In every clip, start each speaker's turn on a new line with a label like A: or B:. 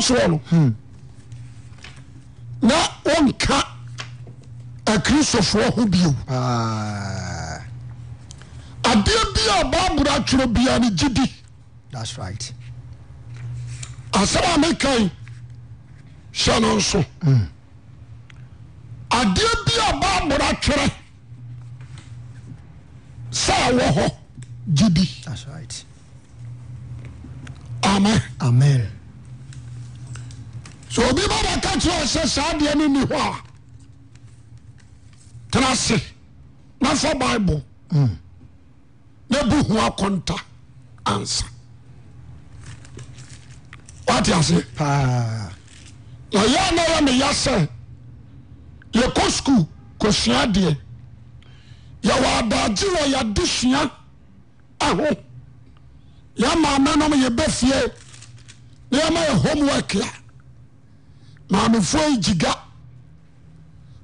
A: soɔ no na wonka akristofoɔ ho bio
B: Ah,
A: adeɛ bia bible atwerɛ bia no gyidi
B: that's right.
A: asɛm a mekan hyɛ no nso adeɛ bia bible atwerɛ sɛ ɛwɔ hɔ gyidi
B: That's right.
A: amen
B: Amen.
A: sɛ obi ba bɛka kyerɛ wo sɛ saa deɛ no nni hɔ a tena ase na fa bible na bu ho akɔnta ansa wate ase
B: Pa.
A: na yɛ na yɛ meya sɛ yɛkɔ skul kɔsua deɛ yɛwɔ adaagye wɔ yɛde sua aho yɛmaama nom yɛbɛ fie na yɛma yɛ homework a maamefoɔ yi gyiga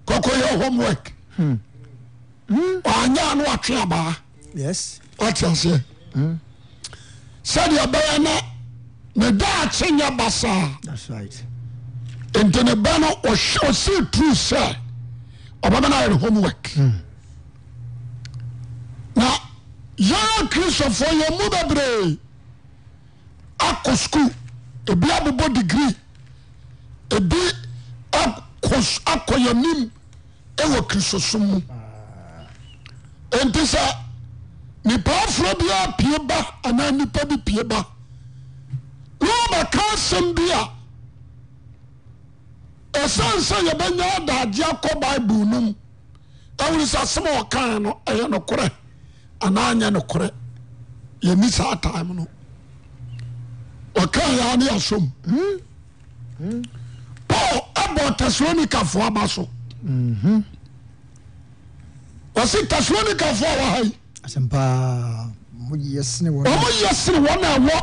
A: kɔkɔ yɛ homework ɔanyɛ a no watwe abaa
B: Yes.
A: wateaseɛ sɛdeɛ bɛyɛ na ne daakye nyɛ basaa
B: That's right.
A: nti ne ba no ɔhyɛ- ɔsii tru sɛ ɔbɛma no ayɛ ne homework na yɛn kristofoɔ yɛn mu bebree akɔ skul ebi abobɔ degree ebi akɔ s- akɔ yɛnim ɛwɔ kristosom mu nti sɛ nipa aforo biara pie ba anaa nipa bi pie ba na ɔbɛka asɛm bi a ɛsiane sɛ yɛbɛnya adagye akɔ bible no mu ɛwore sɛ asɛm a ɔkae no ɛyɛ nokorɛ anaa nyɛ nokorɛ yɛni saa time no ɔkae a ne yɛsom paul ɛbɔ tesalonikafoɔ aba so ɔse tesalonikafoɔ a wɔha yi
B: Asempa. Mo- Yes. ne wo-
A: ɔmo yɛ sene wɔn a ɛwɔ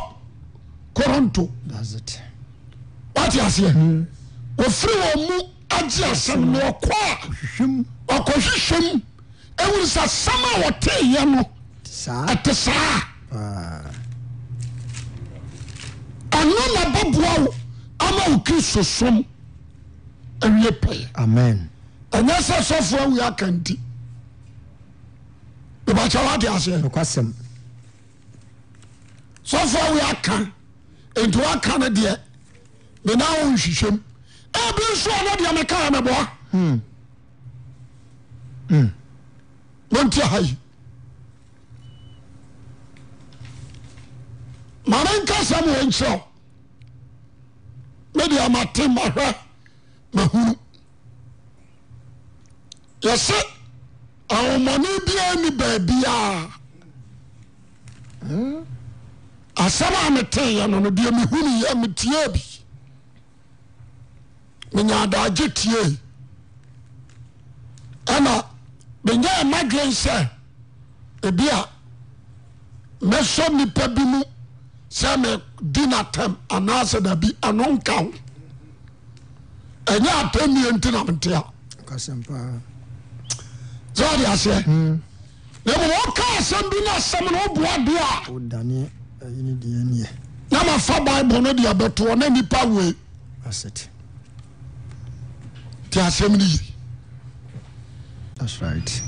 A: koronto
B: That's it.
A: wate aseɛ wɔfiri wɔn mu agye asɛm na ɔkɔ a
B: Hwim.
A: ɔkɔhwehwɛm ɛwuru sɛ asɛm a wɔteeyɛ no
B: Saa.
A: ɛte saa
B: Pa.
A: ɛno na bɛboa wo ama wo kristo som awie pɛyɛ
B: Amen.
A: ɛnyɛ sɛ sɔfoɔ awie aka nti mebakyɛ woate aseɛ
B: Nokwasɛm.
A: sɔfoɔ awie aka enti woaka no deɛ mena wo nhwehwɛm ɛbi nso a no deɛ mekaa meboa monti ha yi mama nkasa m wɔ nkyerɛ wo. mede amate mahwɛ mahunu yɛse awomɔne biaa ni baabiaa asɛm a meteyɛ no no deɛ mehunu yɛ metiee bi menya adagye tiee ɛna menyɛ ɛma dwen sɛ ebia mɛsɔ nnipa bi mu sɛ medi natam anaasɛ dabi ɛno nka ho ɛnyɛ atammiɛ nti na mete a
B: Nokwasɛm pa.
A: sɛ wode aseɛ na mmom ɔka asɛm bi no asɛm no woboa de a
B: Wo dane. Ɛyi ne deɛ nie.
A: na mafa bible no de abɛtoɔ na nnipa wei
B: That's it.
A: nti asɛm no yi
B: That's right.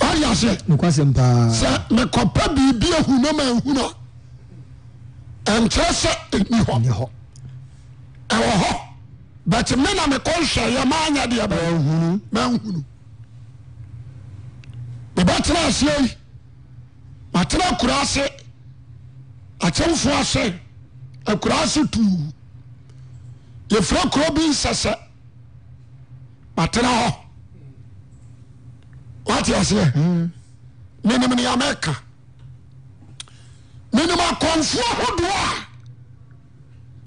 A: wode aseɛ
B: Nokwasɛm pa.
A: sɛ mekɔpɛ biribi ahu na manhu a ɛnkyerɛ sɛ ɛni hɔ
B: Ne hɔ.
A: ɛwɔ hɔ but me na mekɔ nhwɛ yɛ maanyɛ deɛ bɛ manhunu mebɛtena aseɛ yi matena akura ase akyɛmfo ase akura ase tuu yɛfira kuro bi nsɛsɛ matena hɔ wate aseɛ menim nea meka menim akɔmfoɔ hodoɔ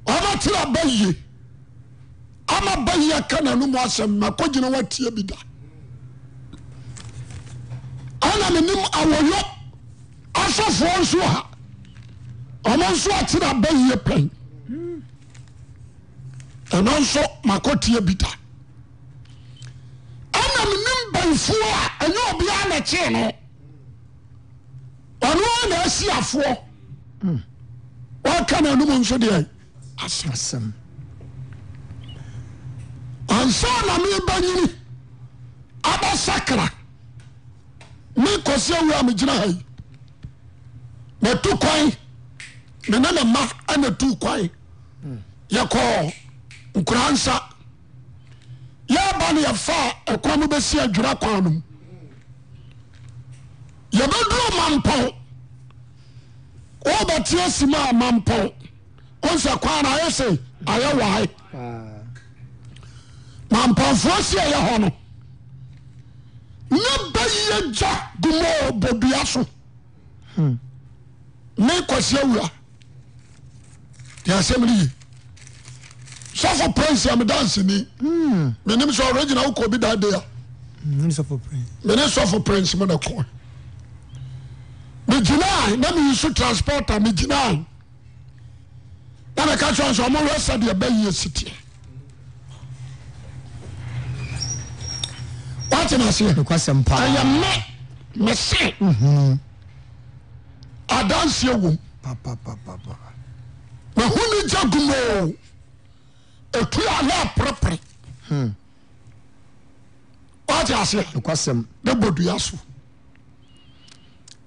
A: a ɔmatena ba ye ama ba ye aka nano mu asɛm makɔgyina woatie bi da ana menim awɔyɔ asɔfoɔ nso ha ɔmo nso atena ba ye pɛn ɛno nso makɔtie bi da ana menim banfuo a ɛnyɛ obiara na kyee no ɔno a na asi afoɔ waka na anom nso deɛ asɛm
B: asɛm
A: ansa na meba nyini aba sakra me kɔse awu a megyina ha yi matu kwan me ne ne ma anatu kwan yɛkɔɔ nkura nsa yɛba no yɛfaa ɛkwan no bɛsi adwira kwan no mu yɛbɛduru mampɔn wobɛteɛ sima a mampɔn wonsɛ kwan no ayɛ se ayɛ wae
B: paa
A: mampɔnfoɔ si ɛyɛ hɔ no ne bɛyɛ gya gumɔ bɔdua so ne kɔsi awura deɛ asɛm no ye sɔfo prince am danseni menim sɛ ɔregyina wokɔ bi da de a
B: ne sɔfo pɛn
A: mene sɔfo prince mo ne kɔ megyinaa na meyi so transporter megyinaa na meka kyerɛ sɛ ɔmo werɛ sɛdeɛ bɛyie siteɛ woate no aseɛ
B: nokwasɛm
A: ɛyɛ
B: paa
A: me mese adanseɛ wom
B: papapapapa
A: mahu ne gya gumoo ɛtui a na ɛperepere woate aseɛ
B: nokwasɛm
A: ne bodua so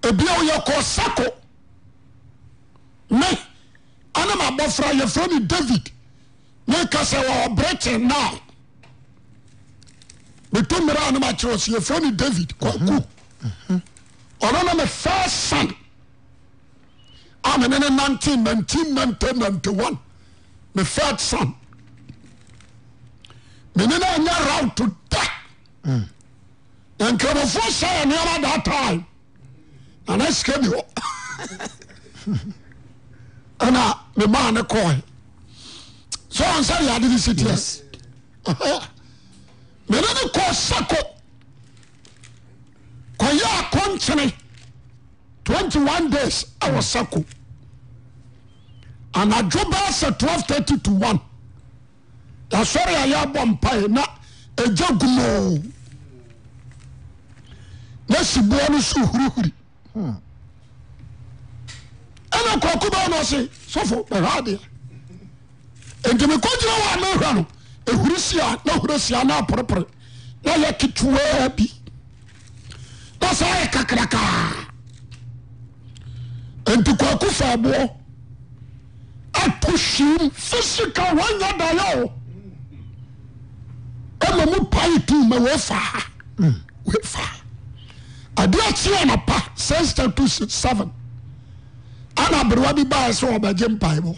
A: ebia oyɛ kɔ sako ne anam abɔfra yɛfrɛ ne david ne ka sɛ wɔwɔ britain now meto mmerɛ a nom akyerɛ sɛ yɛfrɛ ne david kwaku ɔno no me first son a mene ne nante nantin nante nanteone me first son mene ne anya row to da nkramofoɔ sɛɛ nneɛma da tae ana sika bi hɔ ɛna memaa ne kɔe sɛ ɔnsa de ade ne sitiɛ
B: yes
A: mene ne kɔɔ sako kɔyɛ akɔnkyene 21 days ɛwɔ sako anadwo bɛɛ sɛ 1230 to 1 yɛsɔre a yɛabɔ mpae na ɛgya gumoo na siboɔ no so hurihuri ɛna kɔko bɛɛ no ɔse sɔfo bɛhwɛ adeɛ enti mekɔgyina wɔ a mehwɛ no ɛhuri sia na huro sia na aporepere na yɛ ketewaa bi na saa yɛ kakrakaa enti kɔko faaboɔ ato hwim physical wanyɛ dayɛ o ɛma mu pae tu ma wɔfaa wɔfaa ade akyeɛ na pa six to two six seven ana aberewa bi baa sɛ ɔbɛgye mpaebɔ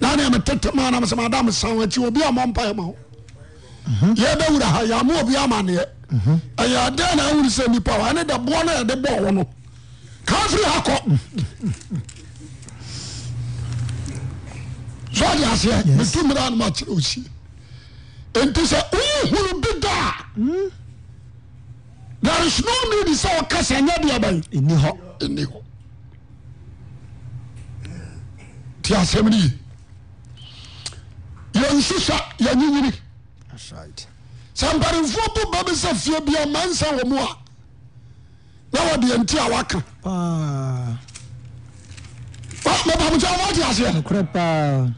A: na ne metete ma nam sɛ mada mesan akyi obi amɔ mpae ma wo yɛbɛwura ha yɛama obi amanneɛ ɛyɛ adɛn na awuru sɛ nnipa wɔ ɛne dɛ boɔ no a yɛde bɔɔ wo no kaa firi ha kɔ so ɔde aseɛ
B: Yes.
A: metu mmera no makyerɛ osie enti sɛ wohunu bi da a there is no need sɛ wɔka sɛ nyɛ deɛ bɛn
B: ɛni hɔ
A: ɛni hɔ nti asɛm no ye yɛnsusa yɛnyinyini
B: that's right
A: sɛ mpanimfoɔ bo ba bi sɛ fie bia mansa wɔ mu a na wɔde ɛnti a waka
B: paa
A: mɛbamkyɛ wɔte aseɛ
B: nokorɛ paa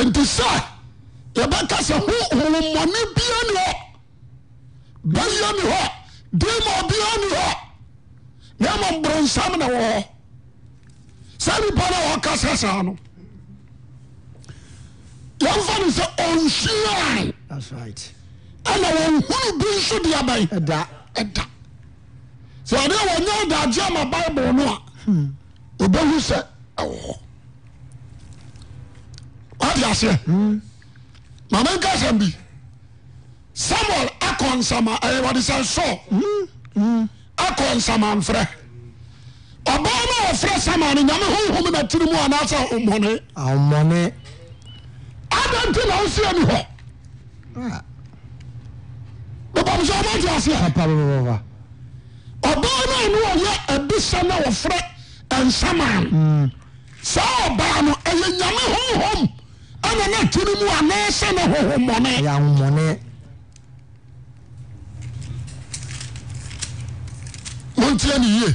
A: enti sɛ yɛbɛka sɛ ho hohommɔne bia ni hɔ bɛyɛ ni hɔ dema bia ni hɔ na ɛma mboronsam na wɔ hɔ saa nipa no a wɔka sɛ saa no yɛmfa no sɛ ɔnhyiae
B: that's right
A: ɛna wɔnhunu bi nso de abɛn
B: ɛda
A: ɛda sɛ ɔde a wɔnyɛ adagye ama bible no a obɛhu sɛ ɛwɔ hɔ wate aseɛ mama nka sɛm bi samuel akɔ nsama ɛyɛ wɔde sɛ sɔ akɔ nsama mfrɛ ɔbaa no a ɔfrɛ sama no nyame honhom na tiri mu anaasɛ homɔne
B: ahomɔne
A: ada nti na wosia ni hɔ
B: Ah,
A: bɛbam sɛ ɔmate aseɛ
B: papa bɛbɛba
A: ɔbaa no a ne ɔyɛ abisa na wɔfrɛ
B: Hmm,
A: nsaman saa ɔbaa no ɛyɛ nyame honhom ana na ati no mu anaasɛ ne
B: ɛyɛ
A: honhommɔne
B: ahomɔne
A: montia ne yie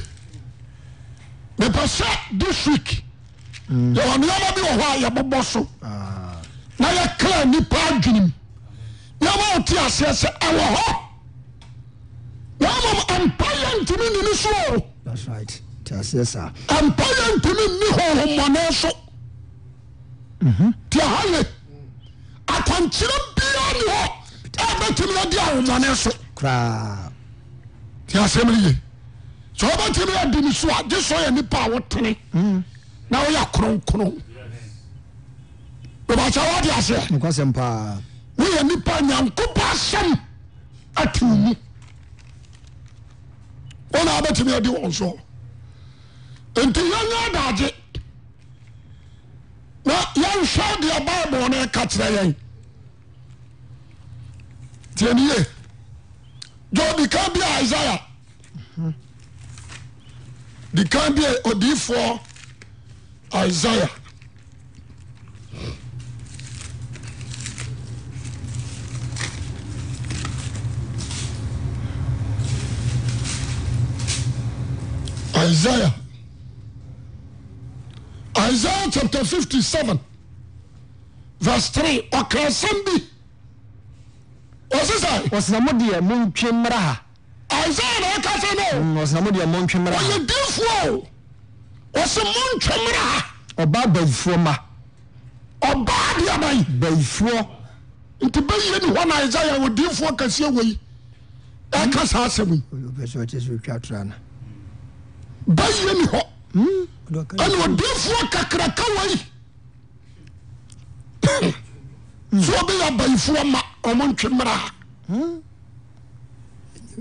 A: mepɛ sɛ this week yɛwɔ nneɛma bi wɔ hɔ a yɛbobɔ so na yɛkra nnipa adwenem nneɛma a ɔte aseɛ sɛ ɛwɔ hɔ na mmom ampa yɛ ntumi nni ne so o
B: that's right ti aseɛ saa
A: ampa yɛ ntumi nni honhommɔne so nti aha ye akwankyerɛ biara ne hɔ a bɛtumi ade ahommɔne so
B: koraa
A: nti asɛm no ye sɛ wobɛtumi adi ne so a gye sɛ ɔyɛ nipa a wotene na woyɛ kronkron bɛbakyɛ wode aseɛ
B: nkwasɛm paa
A: woyɛ nipa nyankopɔn asɛm ate wo mu wona wobɛtumi adi wɔn so nti yɛnyɛ adagye na yɛnhwɛ deɛ bible no ɛka kyerɛ yɛn tianie gyo dikan bi a isaia dikan bi a odiifoɔ isaia Isaiah. Isaiah chapter 57, verse 3. Ɔkra asɛm bi. Ɔsi sɛ,
B: ɔsena mo deɛ montwe mmra ha
A: Isaiah na ɔka sɛ no,
B: Mm, ɔsena mo deɛ montwe mmra ha
A: ɔyɛ difoɔ o. Ɔsi mo ntwe mmra ha.
B: ɔbaa bayifoɔ ma
A: Ɔbaa de aban.
B: bayifoɔ
A: Nti bɛyie ni hɔ na Isaiah wɔ difoɔ kɛseɛ wɔ yi. Ɛka saa asɛm yi.
B: ɔpɛ sɛ ɔkyɛ sɛ ɔtwa tora no
A: Bɛyie ni hɔ. ɛne ɔdifoɔ kakraka wa yi sɛ ɔbɛyɛ abayifoɔ ma ɔmo ntwe mmara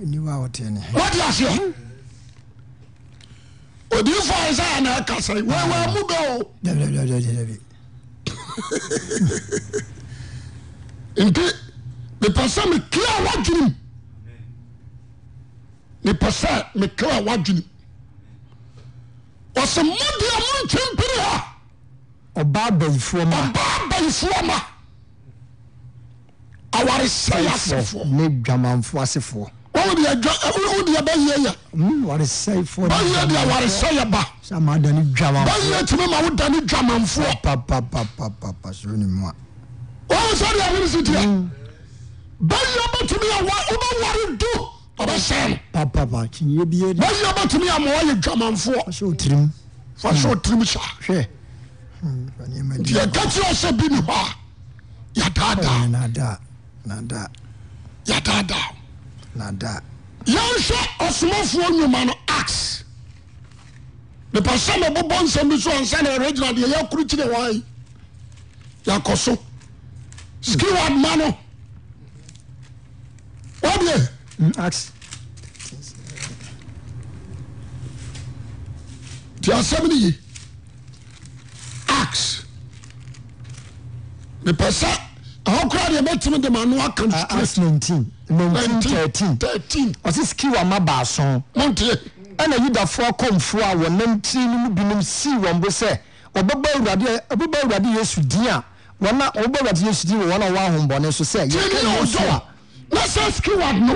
B: niwa a ɔte ne
A: wode aseɛ odiyifoɔ isaia na ɛka sɛ wɛwɛ mu dɔ o
B: dabidabidabidabi
A: nti mepɛ sɛ mekra wadwenem mepɛ sɛ mekra wadwenem ɔsɛ modeɛ mo ntwe mpere ha
B: ɔbaa bayifoɔ ma
A: ɔbaa abayifoɔ ma awaresɛe asefoɔ
B: ne dwamanfoɔ asefoɔ
A: wọ́n wọ́n di ẹbẹ yẹ yẹ
B: Mm, waresɛefoɔ
A: báyìí yẹ di awaresẹ yẹ ba
B: sɛ maada ne
A: báyìí
B: dwamanfoɔ
A: yẹ tìmí ma wọ́n dání dwamanfoɔ
B: papapapapapa soro ne mu a
A: wọ́n sọ de ẹ̀hún si tiẹ̀ báyìí yẹ bá tìmí yẹ wá ọba wari du ọba sẹ́yìn
B: papapa kyinyɛ bie de
A: báyìí yẹ bá tìmí yẹ mọ̀ ọ́ yẹ dwamanfoɔ
B: sɛ ɔtirim
A: fọṣọ tìrìmù sá
B: hwɛ Mm, fa nneɛma di
A: yẹ kẹ́tì ọ̀sẹ̀ bí mi họ́ a yà dáadáa
B: Ɛyɛ nada nada
A: yà dáadáa
B: nada
A: yẹn hwẹ ọ̀sùnmọ̀fọ̀ ọ̀nyùmá no ax nípa sẹ́mi bọ́bọ́ nsẹ́m bí so ọ̀nsẹ́ na ẹ̀rọ gyina deɛ yẹ kuru kyerɛ wọ́n yi yà kọ́ so skeward ma no wọ́n bìyẹ
B: Mm, ax
A: tí asẹ́mi nìyí ax nípa sẹ́ àwọn kura deɛ bẹ́ẹ̀ tìmí dèmà nù aka nù
B: A- ax
A: straight
B: 19 19 13
A: thirteen
B: ɔse skiwa ma baason
A: mọ̀ntìyẹ
B: ɛna yudafoɔ kɔmfoɔ a wɔnam tiri no mu binom sii wɔn bo sɛ ɔbɛbɔ awurade ɔbɛbɔ awurade yesu din a wɔn a ɔbɛbɔ awurade yesu din wɔ wɔn a wɔn ahombɔne so sɛ
A: tí ni ọjọ́
B: yɛka yesu
A: wa na sẹ́ skeward no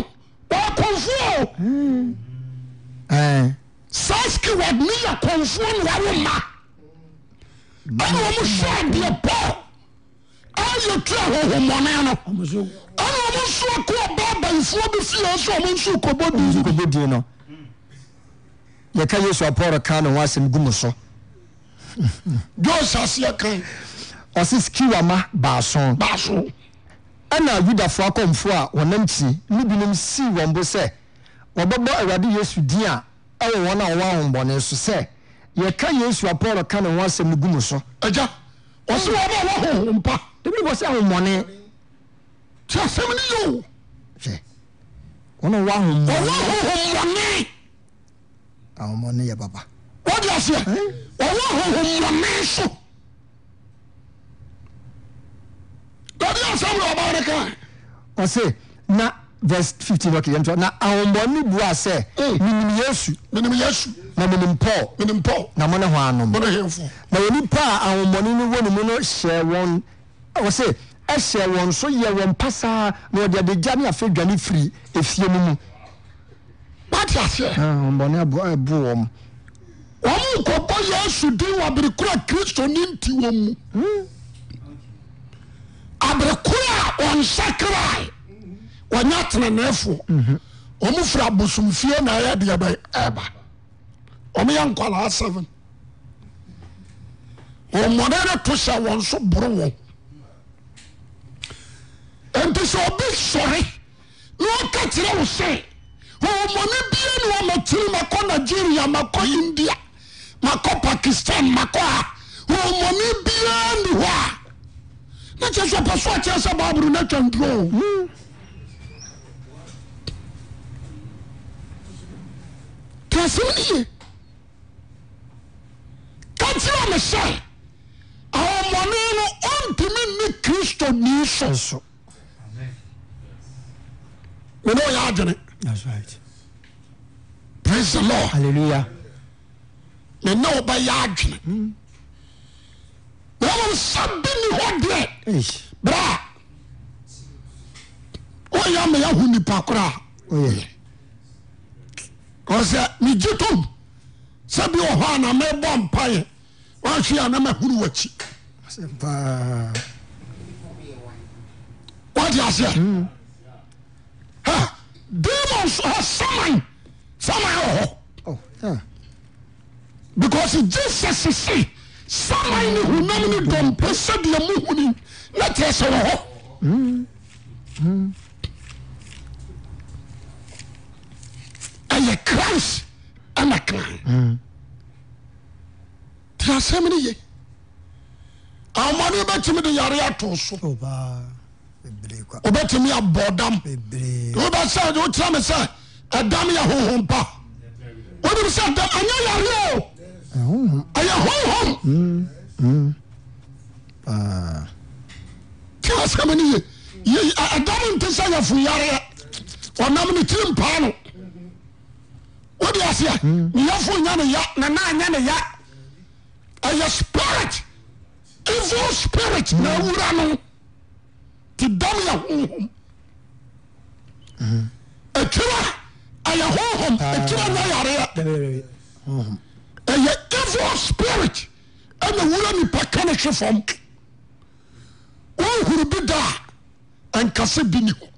A: wọ́n kọ́ fún ọ.
B: a ɛn
A: saski wad ne yɛ kɔnfoɔ ne wawo ma ɛne ɔmo hwɛ adeɛ pɔ ayɛ tura hohommɔne no ɛne ɔmo nso ko ɔba abayifoɔ bi fie sɛ ɔmo nso kɔbɔ di
B: kɔbɔ din no yɛka yesu a paul ka ne ho asɛm gu mu so
A: jos aseɛ kan
B: ɔse skiwa ma baason
A: baaso
B: ɛna yudafoɔ akɔmfoɔ a wɔnam tiri no binom sii wɔn bo sɛ wɔbɛbɔ awurade yesu din a ɛwɔ wɔn a wɔwɔ ahombɔne so sɛ yɛka yesu a paul ka ne ho asɛm no gu mu so
A: agya ɔse wɔ ma wɔ honhom pa
B: ebi bɔ sɛ ahomɔne
A: nti asɛm ne yɛ o
B: hwɛ wɔn wɔ ahomɔne
A: ɔwɔ honhommɔne
B: ahomɔne yɛ baba
A: wode aseɛ ɔwɔ honhommɔne so dade asɛm ne ɔba ne kan
B: ɔse na verse fifteen ɔkè yɛn to na ahomɔne bua sɛ
A: Mm.
B: minim yesu
A: menim yesu
B: na minim paul
A: menim paul
B: na mo ne ho anom
A: mone hemfoɔ
B: na wɔn nipa a ahomɔne no wɔ ne mu no hyɛ wɔn ɔse ɛhyɛ wɔn so yɛ wɔn pasaa na ɔde adegya ne afei dwane firi efie no mu
A: wate aseɛ
B: Ah, ahomɔne abu abu wɔn
A: wɔn nkɔbɔ yesu din wɔ abirekora kristo ne nti wɔn mu abirekora a ɔnsakra wɔnyɛ teneneefoɔ wɔn firi abosomfie na ɛyɛ deɛ bɛ ɛɛba wɔn yɛ nkwalaa seven wɔn mɔden ne to hyɛ wɔn so boro wɔn nti sɛ obi sɔre na ɔka kyerɛ wo sɛ homɔne bia ne wɔmatiri makɔ nigeria makɔ india makɔ pakistan makɔ a homɔne bia ni hɔ a na kyerɛ sɛ pɛ so akyerɛ sɛ baaboro no atwa nturo tasɛm ne ye ka kyerɛ me sɛ ahomɔne no ɔntumi nni kristo nii so
B: ɛso
A: mene ɔyɛ adwene
B: that's right
A: praise the lord
B: hallelujah
A: mene wobɛyɛ adwene na wɔn nsa bi ni hɔ deɛ
B: eish
A: bra wɔyɛ ama yɛaho nipa koraa
B: oyɛ
A: ɔsɛ megye tom sɛ bi wɔ hɔ a na mɛbɔ mpaeɛ wahwe a na mahuru w'akyi
B: asɛm paa
A: wode
B: Hmm.
A: aseɛ Ha, demons hɔ saman saman wɔ hɔ
B: oh yeah
A: because jesus se saman ne honam no dɔmpɛ sɛdeɛ mohuni na teɛ sɛ wɔ hɔ
B: Hmm.
A: ɛyɛ christ ana
B: Hmm.
A: kran nti asɛm no ye amane bɛtumi de yare ato so
B: oh paa bebree kwa
A: wobɛtumi abɔ dam
B: bebree
A: wobɛsɛ wokyerɛ me sɛ ɛdam yɛ honhom pa wonim sɛ dam anyɛ yare o
B: ɛhohom
A: ɛyɛ honhom
B: paa
A: nti asɛm no ye Ye- ɛ- ɛdam nte sɛ yɛfoyareɛ ɔnam ne tirim paa no wode aseɛ neyafo nya ne ya nana nyɛ ne ya ɛyɛ spirit evil spirit na awura no nti dam yɛ honhom atwira ɛyɛ honhom atwira nyɛ yareɛ
B: bebree ɛhohom
A: ɛyɛ evil spirit ɛna wura nipa ka ne hwe fam wohuru bi da a ankasa bi ni hɔ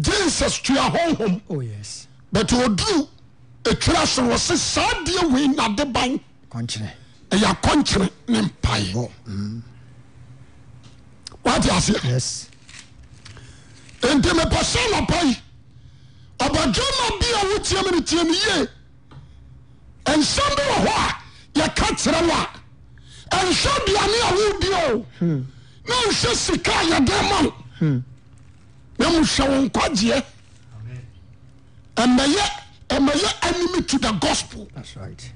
A: jesus tua honhom
B: oh yes
A: but ɔduru ɛtwerɛ so wɔ se saa deɛ wei nade ban
B: kɔnkyerɛ
A: ɛyɛ akɔnkyere ne mpaeɛ
B: bɔ
A: wate aseɛ
B: yes
A: enti mepɛ sɛ nɔpa yi ɔbadwoma bi a wotiam no tiam yie nsɛm bi wɔ hɔ a yɛka kyerɛ wo a ɛnhwɛ aduane a wodi o
B: Hmm.
A: na nhwɛ sika a yɛde ma wo na mohwɛ wo nkwagyeɛ ɛmɛyɛ ɛmɛyɛ enemy to the gospel
B: that's right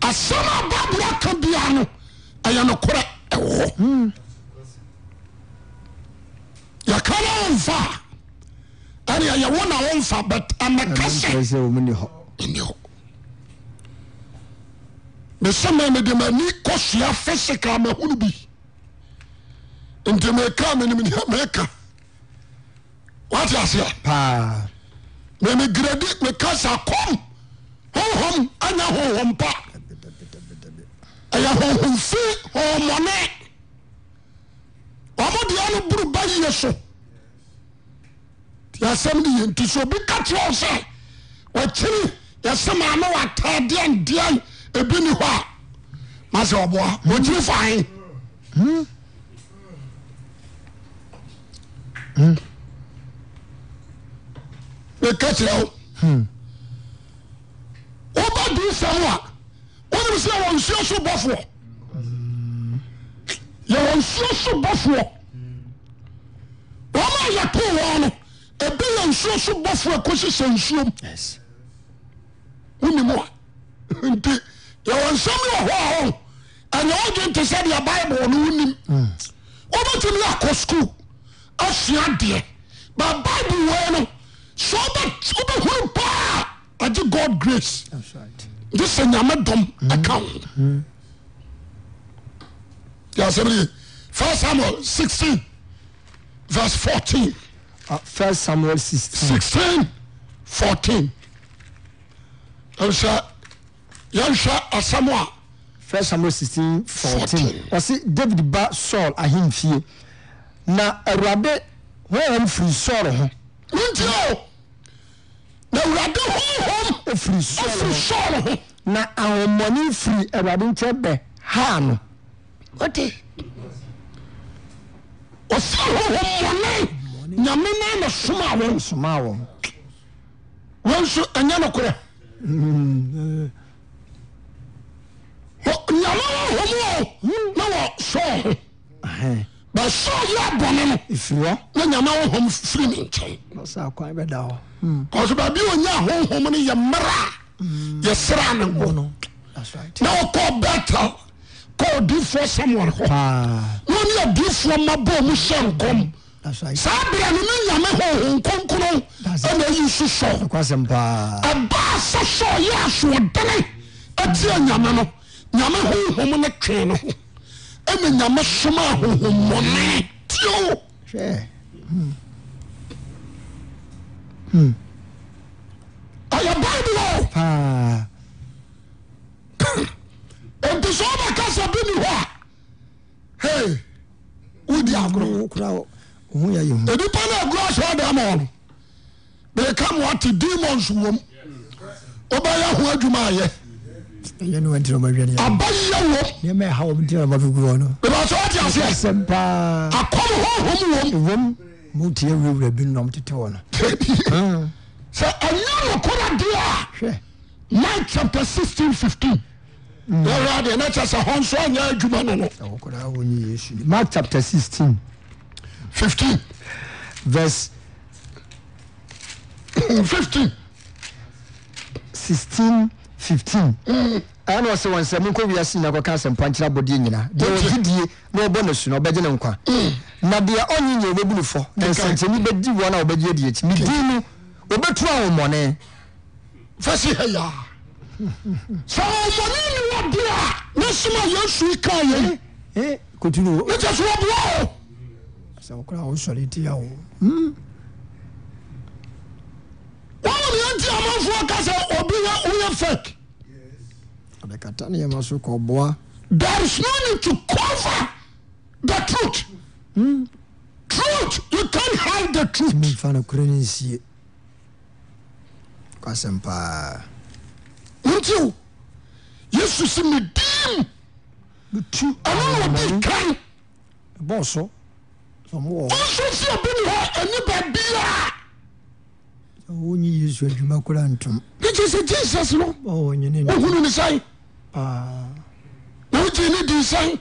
A: asɛm a bible aka bia no ɛyɛ nokorɛ ɛwɔ hɔ
B: Hmm.
A: yɛka no womfa a ɛne ɛyɛ wo na womfa but ɛmɛka
B: ɛnkyerɛ
A: sɛ
B: sɛ wɔn ni hɔ
A: ɛni hɔ mesɛ ma mede m'ani kɔsua physical mahunu bi nti meka menim nea meka wate aseɛ
B: paa
A: memegiradi meka sa kom honhom anya honhom pa ɛyɛ honhomfi honhommɔne ɔmo deɛ no boro ba yie so nti asɛm de yɛ nti sɛ obi ka kyerɛ wo sɛ wɔkyere yɛsɛ maa no wɔataadeɛ ndeɛn ebi ni hɔ a ma sɛ ɔboa wɔkyiri fae Hmm. Hmm. meka kyerɛ wo woba duru sɛm a wonim sɛ yɛwɔ nsuo so bɔfoɔ yɛwɔ nsuo so bɔfoɔ wɔma yɛtoo wɔ no ɛbi yɛ nsuo so bɔfoɔ kɔsi sɛ nsuom
B: yes
A: wonim a nti yɛwɔ nsɛm yɛ hɔ a hɔ ɛnyɛ wodwe nte sɛ deɛ bible no wonim wobɛtumi akɔ skul asua deɛ ba bible wei no sɛ wobɛ- wobɛhunu paa agye god grace
B: that's right
A: nti sɛ nyame dɔm ɛka ho yɛasɛm ye first samuel 16 verse 14
B: uh, first samuel sixteen
A: 16 14 sɛ yɛnhwɛ asɛm a
B: first samuel sixteen fourteen
A: 14.
B: ɔsi david ba saul ahemfie na awurade wɔn firi saul ho
A: mentie o na awurade honhom
B: efiri saul
A: afiri
B: ho
A: sɔɔlo ho
B: na ahomoni firi awurade nkyɛn bɛ ha no
A: wote ɔsɛ honhommɔne nyame na na soma wɔn
B: soma wɔn
A: wɔn nso ɛnyɛ nokorɛ Wɔ- nyame honhom o na wɔ sɔɔ ho
B: Ɛhɛn.
A: ba sɔɔ yɛ abɔne no
B: efiri hɔ
A: na nyame honhom firi ne nkyɛn
B: ɔsɛ akwan bɛ da hɔ
A: ɔso baabi a ɔnya honhom no yɛ mmara a
B: Mm.
A: yɛsra ne wo
B: that's right
A: na ɔkɔɔ betel kɔɔ difoɔ samuel hɔ
B: paa
A: na ɔne adiifoɔ ma bɔɔ mu hyɛ nkɔm
B: that's right
A: saa berɛ no ne nyame honhom kronkron
B: That's it.
A: ɛna ayi so sɔɔ
B: kwasɛm paa
A: ɛbaa sɛ sɔɔ yɛ asoɔdene atia nyame no nyame honhom no twee no ho ɛna nyame somaa honhommɔne tio
B: hwɛ
A: ɔyɛ bible o
B: paa
A: enti sɛ wobɛka sɛ bi ni hɔ a hei wodi agorɔ
B: kura ohun yɛ yehu
A: ɛnipa no agorɔ sɛ ɔde ama ɔ no bereka moate demons wom wobɛyɛ ho adwuma ayɛ
B: yɛ ne wɔn ti na ɔma wiɛ ne yɛ
A: abayɛ wom
B: nneɛma ɛha wɔn ti na ɔma fi gu hɔ no
A: bebɛ sɛ wote aseɛ
B: kwasɛm paa
A: akɔm honhom wom
B: ewom mu tie wurawura bi nnɔm tete wɔ no
A: sɛ ɛnyɛ nokora deɛ a
B: hwɛ
A: Mark chapter sixteen fifteen. Lọ́wọ́ adìẹ náà kyerɛ sɛ hɔn nso anya adwuma no no.
B: ɛwɔ koraa wɔn yi yesu ni mark chapter sixteen
A: fifteen
B: verse
A: fifteen.
B: sixteen fifteen ɛna ɔsɛ wɔn sɛ munkɔ wiase nyina kɔka asɛmpa nkyerɛ abɔdeɛ nyinaa deɛ
A: Okay.
B: ɔgyidie na ɔbɔ no su na ɔbɛgye ne nkwa na deɛ ɔnye nyɛ ɔbɛbu no fɔ na
A: Okay.
B: nsɛnkyɛnni bɛdi wɔn a ɔbɛgye adi akyi medin no ɔbɛtu ahomɔne
A: Fɛsi hɛ yaa. Sɛ ɔmɔni ni wɔ di a, ne sima Yesu yi kan yɛ.
B: Eh, kotunu
A: Ne
B: o
A: kyerɛ sɛ wɔ bua o.
B: sɛ wokora wo sɔre tia o
A: Wɔn wɔ yɛn ti amanfoɔ ka sɛ obi yɛ oyɛ fake.
B: ɔdekata ne yɛma so kɔboa
A: There is no need to cover the truth. Hmm? Truth you can't hide the truth.
B: memfa no korɛ no nsie kwasɛm paa
A: Nti o, Yesu si mi diim,
B: metu
A: ɛno na ɔdi kan.
B: ɛbɔɔ so sɛ mowɔ
A: nso si obi ni hɔ aniba bia
B: wonye yesu adwuma kora ntom
A: nti sɛ jesus no
B: ɔnyene no
A: ohunu ne sɛn
B: paa
A: na wogye ne di sɛn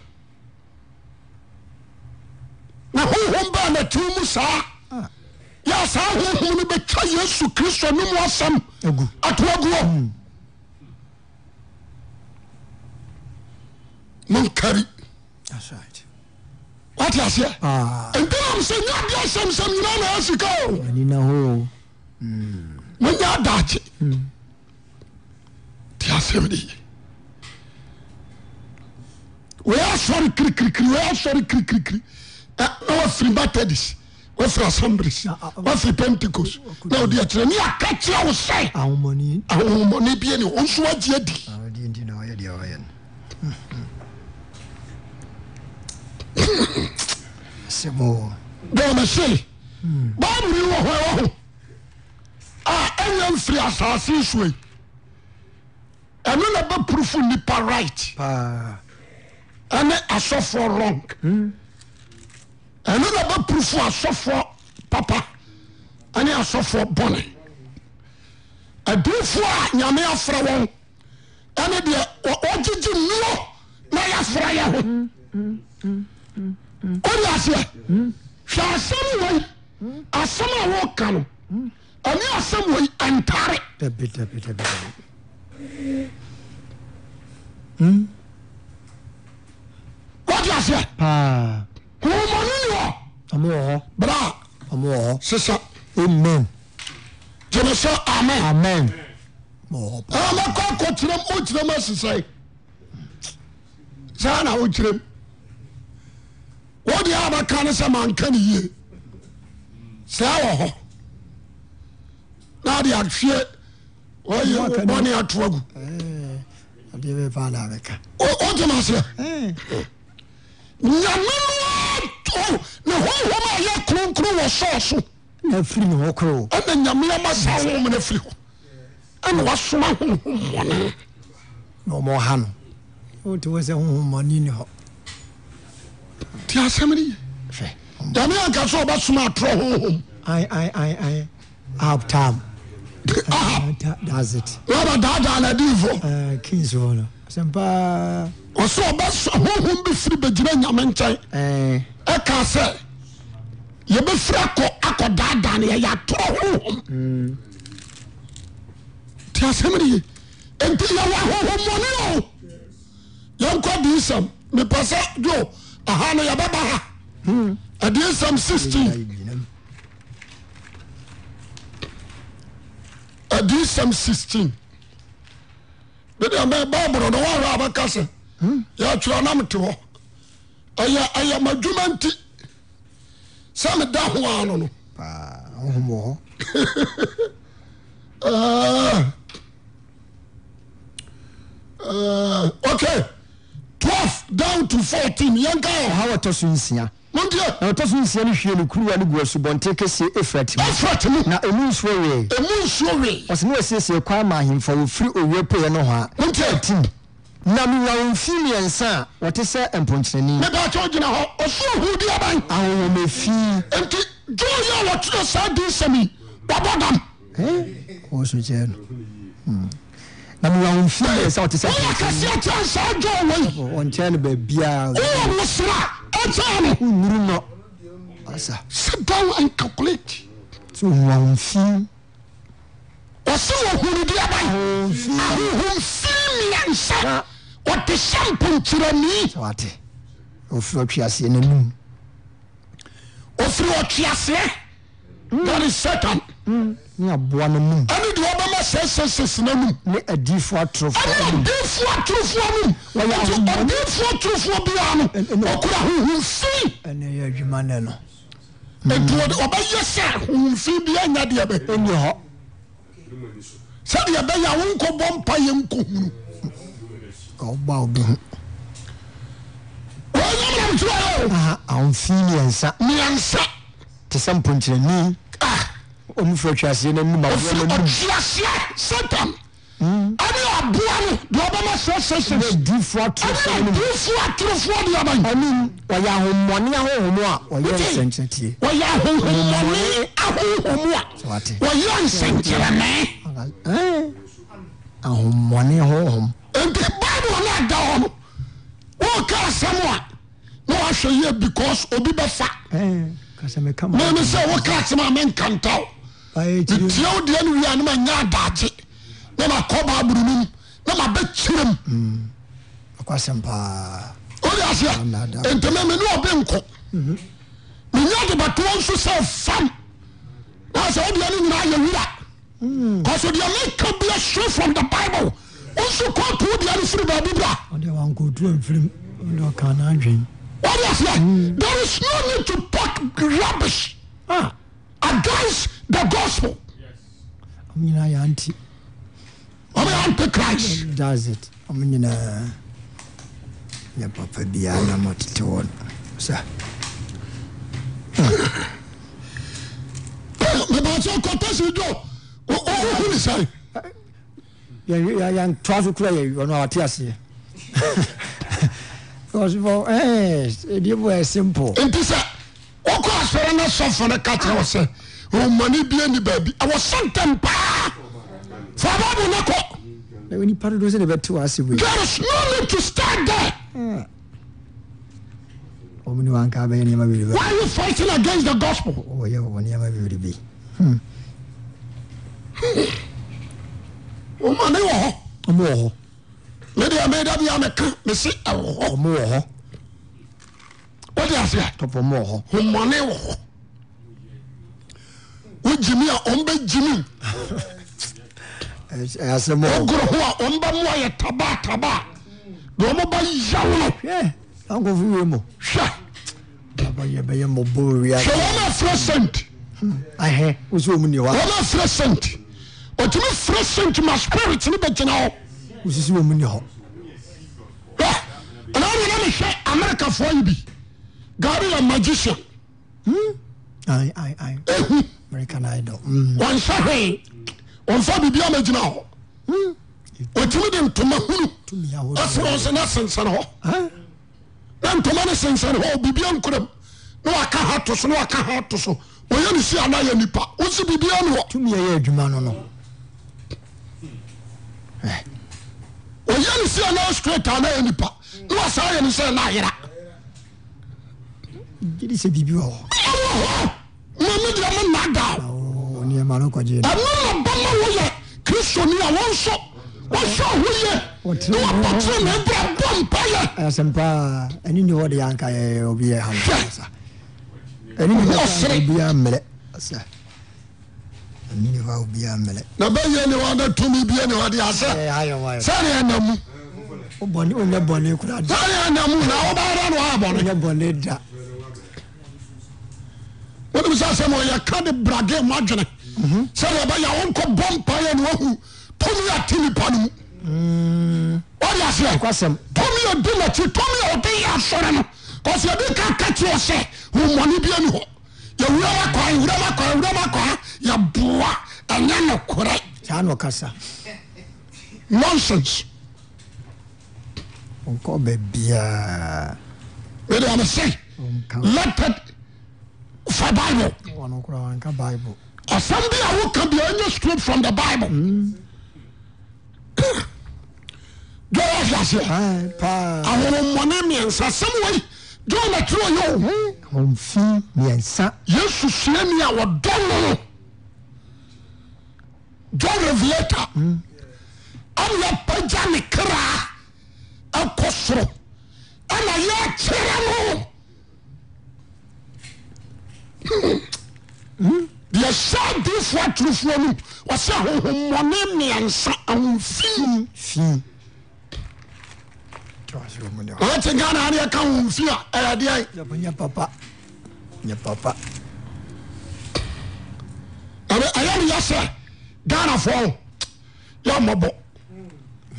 A: na honhom baa natiw mu saa yɛ saa honhom no bɛtwa yesu kristo no mu asɛm
B: agu
A: atoaguɔ monkari
B: that's right
A: wate aseɛ
B: paa
A: ntinam sɛ nya adeɛ sɛmsɛm nyinaa na asika o
B: ani na ho
A: manya adagye
B: Hmm.
A: te asɛm de yi wɔyɛ asɔre kirikirikiri wɔyɛ asɔre kirikirikiri na wafiri methodist wafiri assemblies
B: Na, ah, Oh, ah,
A: wafiri pentecost na wode akyerɛ ne aka kyerɛ wo sɛ
B: ahomɔne
A: Ah, ahohommɔne oh, bie ne wo nso agye adi
B: awurade nti Ah, na ɔyɛ deɛ ɔyɛ no asɛm o
A: dɔɔna se
B: Hmm.
A: bible yi wɔ hɔ ɛwɔ ho a ɛnyɛ mfiri asase so yi ɛno na bɛpurufo nnipa right
B: paa
A: ɛne asɔfoɔ wrong ɛno na bɛpurufo asɔfoɔ papa ɛne asɔfoɔ bɔne adiifoɔ E a nyame afrɛ wɔn ɛne deɛ wɔ- wɔgyegye nnuo na yɛafrɛ yɛ ho ɔde aseɛ hwɛ asɛm wei asɛm a wɔka no ɛne asɛm wei ɛntare
B: dabi dabi dabi dabi
A: wɔde aseɛ
B: paa
A: homɔne ne wɔ
B: ɔmo wɔ hɔ
A: bra a
B: ɔmo wɔ hɔ
A: sesa
B: amen
A: gyeme sɛ amen
B: amen wɔ hɔ paa
A: ɛmɛkɔ kɔkyerɛm wokyerɛm asesɛe saa na wokyerɛm wode a bɛka ne sɛ manka ne yie saa wɔ hɔ na ade ahwie ɔyɛ wo
B: Ɔka ne-
A: bɔne ato agu
B: adeɛ bɛ paa na abɛka
A: ɔgyem aseɛ
B: Eh,
A: nyame no ato ne honhom a yɛ kronkron wɔ sɔɔ so
B: na afiri ne hɔ koro o.
A: ɛna nyame ama saa honhom no afiri hɔ ɛna wasoma honhom bɔne
B: na ɔma ɔha no wote wɔ sɛ hohommɔne ni hɔ
A: nti asɛm no ye
B: hwɛ
A: nyame anka sɛ ɔbɛsoma atorɔ honhom
B: ai ai ai ai aptam
A: aha
B: does it
A: raba daadaa na adiifoɔ
B: Ah, kings hɔ no asɛm paa
A: ɔsɛ ɔbɛsa honhom bi firi bɛgyina nyame nkyɛn
B: Eh,
A: ɛka sɛ yɛbɛfiri akɔ akɔ daadaa no yɛyɛ atorɔ honhom nti asɛm no ye enti yɛwɔ ahohommɔne o yɛnkɔ diisɛm mepɛ sɛ jo aha no yɛbɛba ha adiisɛm 16
B: ayi gyinam.
A: adiisɛm 16 bɛdeɛ bible no wɔhwɛ abɛka sɛ yɛatwerɛ nam te hɔ ɛyɛ ɛyɛ madwuma nti sɛ meda ho a no no
B: paa honhom wɔ hɔ
A: Ah. Ah, ok 12 down to 14 yɛnka ɔ
B: ha wɔtɔ so nsia
A: mondeɛ
B: na wɔtɔ so nsia no hwie no kuruwa no gu asubɔnten kɛseɛ efrat mu
A: ɛfrat mu
B: na ɛmu nsuo wee
A: ɛmu nsuo wee
B: ɔsɛ ne wɔsiesie kwan ma ahemfa wɔfiri owia poeɛ no hɔ a
A: monteɛ
B: tim na mewawɔ mfi mmiɛnsa a wɔte sɛ mpɔnkyerɛni
A: medakyɛ wogyina hɔ ɔsoro huudi aban
B: ahohomefi
A: nti dwoo yɛ a wɔtwerɛ saa diisɛm yi wɔbɔ dam
B: wɔ so kyɛɛ no Mm. na mewawɔ mfi mmiɛnsa a wɔte sɛ
A: woyɛ
B: mpɔnkyerɛni
A: kɛseɛ kyɛ saa dwoo wei
B: ɔnkyɛn no baabiaa
A: woyɛ wosera ɛkyɛɛ no
B: wonnuru nɔ asa
A: sit down and calculate
B: sɛ ɔhuahomfi
A: ɔse wɔhurudi aban ahohomfii mmiɛnsa wɔte hyɛ mponkyerɛni
B: wate ɔfiri ɔtweaseɛ n'anom
A: ɔfiri ɔtweaseɛ that is satan
B: ne aboa n'anom
A: ɛne deɛ ɔbɛma sɛsɛsɛsi no anom
B: ne adiyifoɔ
A: ɛne
B: atorofoɔ anom
A: ɔdefoɔ atorofoɔ nom
B: Wɔyɛ
A: nti
B: ahohom.
A: ɔdefoɔ atorofoɔ biara no
B: ɛne-
A: ɔkora ahohomfii
B: ɛne yɛ adwuma nɛ no
A: nti ɔde- ɔbɛyɛ sɛ ahohomfii biara nya deɛ bɛ
B: ɛni hɔ
A: sɛdeɛ ɛbɛyɛ a wonkɔbɔ mpa yɛ nkɔhunu
B: ɔba obi ho
A: wɔnyamnamkyerɛ
B: aha ahomfi mmiɛnsa
A: mmiɛnsa
B: te sɛ mpɔnkyerɛni
A: Ah,
B: ɔmufiri ɔtweaseɛ n'anom aboa
A: ɔfiri
B: n'anom
A: ɔtweaseɛ satan ɛne ɔboa no deɛ ɔbɛma
B: ne
A: sɛsɛsɛsi
B: adiyifoɔ atorofoɔ
A: ɛne
B: anom
A: ɔdefoɔ atorofoɔ deɛ ɔbɛyɛ
B: anim wɔyɛ ahommɔne ahohom a wɔyɛ
A: Wotie?
B: nsɛnkyerɛtie
A: wɔyɛ ahohommɔne ahohom a
B: wate
A: wɔyɛ nsɛnkyerɛnee
B: Eh, ahommɔne ahohom
A: nti bible no ada hɔ no woka asɛm a na wahwɛ yie because obi bɛfa
B: Eh, kasa meka
A: meme sɛ woka asɛm a menka ntaw
B: maɛkyiri
A: metia wo deɛ no wie a ne manya adagye na makɔ baaboro no mu na mabɛkyerɛ m
B: ɔkwasɛm paa
A: wode
B: Ana ada.
A: aseɛ nti meme ne ɔbe nkɔ menya de batoɔ nso sɛ fam na sɛ wodeɛ no nyinaa yɛ wura cause deɛ meka bia straight from the bible wo nso kɔ to wo deɛ no firi baabi bra
B: ɔde wankɔtu amfirim ɔde ɔka no adwen
A: What is that? There is no need to talk rubbish
B: a
A: against the gospel.
B: ɔm nyinaa yɛ anti
A: I mean, Antichrist.
B: does it ɔm nyinaa yɛ papa biaa na mɔtete wɔ no sɛ
A: Mebàtí ọkọtà sí ijó ọhún nìsàn.
B: yɛntoa so kora yɛ ɔno awate aseɛ because for eh ɛdeɛ bɔ ɛ simple
A: Nti sẹ, ọkọ asọrọ náà sọfọ náà kàtà wọ sẹ, ọmọnì bíi ẹni bẹẹbi, ẹwọ sẹntẹm paa. Fọwọ́bù náà kọ.
B: na nipa dodo sɛ ne bɛte wɔ ase wei
A: There is no need to start there.
B: ɔm ne wanka bɛyɛ nneɛma bebrebe
A: Why are you fighting against the gospel?
B: wɔyɛ wɔ nneɛma bebrebe
A: Ọmọnì wọ̀ họ.
B: ɔmo wɔ hɔ
A: Mẹ́ẹ̀dì ẹ̀ mẹ́ẹ̀dì ẹ̀ bí ẹ̀ mẹ́ka, mẹ́sì ẹ̀wọ̀ họ.
B: ɔmo wɔ hɔ
A: Wọ́n di àṣẹ.
B: tɔpɔ ɔmo wɔ hɔ
A: homɔne wɔ hɔ wo gyimi a ɔmbɛ gyimi
B: Ɛs- ɛyɛ asɛm wɔ hɔ
A: ɔgoro ho a ɔmbɛ moa yɛ tabaataba deɛ ɔmobɛ yaw no
B: hwɛ ankɔfo wie mu
A: hwɛ
B: abɛyɛ bɛyɛ mmɔbɔ wia
A: hwɛ wɔma afrɛ sent
B: ahɛ wo sɛ ɔmu ne hɔ a
A: wɔma afrɛ sent ɔtumi frɛ sent ma spirit ne bɛgyina hɔ
B: wosisi wɔn mu ni hɔ
A: Hwɛ, ɛna wode na mehwɛ amerikafoɔ yi bi gari yɛ magician
B: ayi ayi ayi
A: ɛhu
B: american idol mm.
A: wɔnhyɛ hwee wɔmfa biribia ma gyina hɔ ɔtumi de ntoma hunu
B: tumi ahodoɔ
A: ɛfrɛ sɛ ne sensɛne hɔ
B: Ɛn?
A: na ntoma ne sensɛne hɔ biribia nkoram na waka ha to so na waka ha to so wɔyɛ ne si anaa yɛ nipa wosi biribia ne hɔ
B: tumi ɛyɛ adwuma no no
A: wɔyɛ ne si anaa straight anaa yɛ nipa na wasaa yɛ ne sɛ na ayera
B: gidi sɛ biribi wɔ hɔ
A: ɛwɔ hɔ mame deɛ mo nna daa
B: Ɔwɔ nneɛma Oh, no kɔgye no
A: ɛno na bama woyɛ kristoni a wɔnso wɔhyɛ ho yɛ
B: Wɔte-
A: ne wɔbɔtere ne brɛ bɔ mpayɛ
B: ayasɛm paa ɛne ne wɔde yɛanka yɛyɛ obi
A: Hwɛ.
B: yɛ hamsa ɛne ne
A: Ɔsere.
B: bɛka obia mmerɛ sɛ ɛne ne fa obia mmerɛ
A: na bɛyɛ ne wada tumi bia ne wade asɛ
B: ayɛwayɛ
A: sɛne ɛnamu
B: wobɔne onyɛ bɔne kora da
A: sɛne ɛnamu na wobɛyɛda ne waabɔne
B: onyɛ bɔne da
A: wonem sɛ sɛ ɔyɛ ka de brade ma adwene sɛne ɛbɛyɛ wonkɔ bɔ mpayɛ ne wahu tumi ate nipa no mu wode aseɛ
B: kwasɛm
A: tumi a di n'akyi tumi a ɔde yɛ asɔre no kɔsi ebi ka kakyia sɛ humɔni bi ɛni hɔ yɛwura ma kɔ yɛwura ma kɔ yɛwura ma kɔ yɛboa ɛnyɛ no korɛ
B: saa na ɔkasa
A: nonsense
B: ɔnkɔ baabiaa
A: ɛdi wɔn sɛ
B: ɔnka
A: leopard for bible
B: ɔno kora wanka bible
A: ɔsɛm bi a woka bi a ɛnyɛ straight from the bible dɔwɔ fi aseɛ
B: Ai, paa
A: ahoromɔni mmiɛnsa sɛm wɔyi dɔwɔ na tiri ɔyɛ o.
B: ɔmfi mmiɛnsa
A: yesu suani a wɔdɔ no no john revelator ɛne yɛpagya ne kraa ɛkɔ soro ɛna yɛkyerɛ no Hmm. deɛ hyɛ adiifoɔ atorofoɔ no wɔsɛ ahohommɔne mmiɛnsa ahomfii
B: fii tɔwaseɛ mu ne hɔ
A: wɔte ghana ane yɛka ahomfii a ɛyɛ deɛ
B: nyɛ papa nyɛ papa
A: ɛbɛ- ɛyɛ ne yɛsɛ ghanafoɔ yɛmmɔbɔ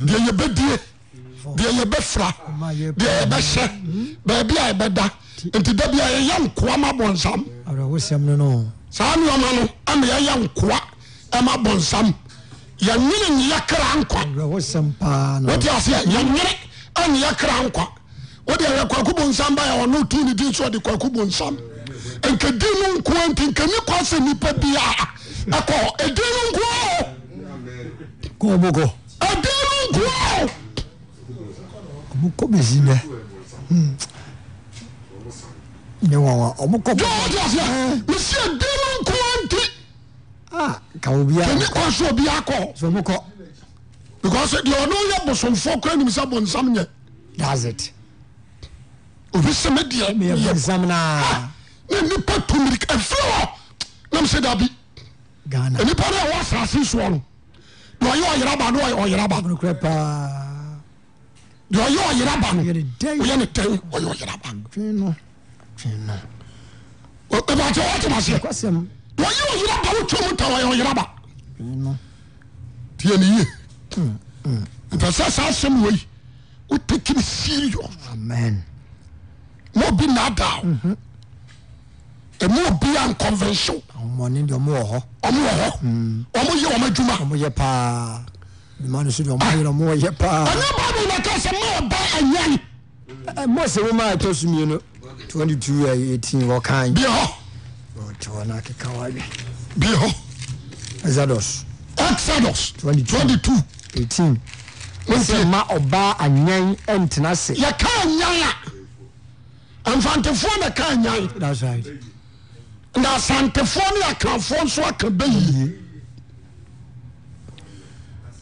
A: deɛ yɛbɛdie deɛ yɛbɛfra
B: Ɔma yɛ
A: deɛ yɛbɛhyɛ baabi a yɛbɛda nti da bia yɛyɛ nkoa ma bɔnsam
B: awerɛhosɛm no no
A: saa nneɔma no ama yɛyɛ nkoa e ma bɔnsam yɛnwene nyeyɛ kra nkwa
B: awerɛhosɛm paa no
A: wote aseɛ yɛnwene anyeyɛ kra nkwa wode ɛyɛ kwako bonsam ba yɛ ɔno tu ne din so ɔde kwako bonsam nkadi no nkoa nti nkani kwa sɛ nnipa biaa ɛkɔ ɛdi no nkoa o
B: kɔbɔkɔ
A: ɛdi no nkoa o
B: ɔmokɔ bɛsi nɛ Hmm. ne wawa ɔmokɔ
A: yɛ wote aseɛ mesi ɛdi no nkoa nti
B: ka obia
A: ani kɔ so obiaa kɔ
B: so ɔmokɔ
A: because deɛ ɔno yɛ bosomfoɔ kora nim sɛ bonsam nyɛ
B: thats it
A: obi sɛ me deɛ
B: meyɛ
A: yɛ
B: bonsam noa
A: na nipa tumiri ɛfiri hɔ nam sɛ dabi
B: ghana
A: nipa no a ɛwɔ asase soɔ no deɛ ɔyɛ ɔyeraba no ɔyɛ ɔyeraba no
B: nokorɛ paa
A: deɛ ɔyɛ ɔyeraba no
B: yɛ ne dɛn
A: woyɛ ne tɛn ɔyɛ ɔyeraba
B: twe no twe no
A: ɛbɛkyɛ wɔtem aseɛ
B: kwasɛm
A: deɛ ɔyɛ ɔyeraba wotwa mu ta ɔyɛ ɔyeraba
B: twe no
A: tiɛ ne yie nti sɛ saa asɛm wei wotaki ne serious
B: amen
A: na obi naadaa ɛmu obi a nconventional
B: ahomɔne deɛ ɔmowɔ hɔ
A: ɔmo wɔ hɔ ɔmo yɛ ɔmo adwuma
B: ɔmoyɛ paa dwuma no so deɛ ɔmoyɛ no ɔmowɔyɛ paa
A: ɛnyɛ baabu na ka sɛ ma ɔba anyan
B: Eh, mose woma ɛtɔ so mmienu 22 a 18 wɔkan
A: bie hɔ
B: ɔte hɔ no akeka wadwe
A: bie hɔ
B: exodus
A: exodus
B: 22.
A: 22
B: 18
A: Nti,
B: sɛ ma ɔbaa anyan ɛntena se
A: yɛka anyan a mfantefoɔ na ka anyan
B: that's right
A: na asantefoɔ ne akrafoɔ nso aka bɛyie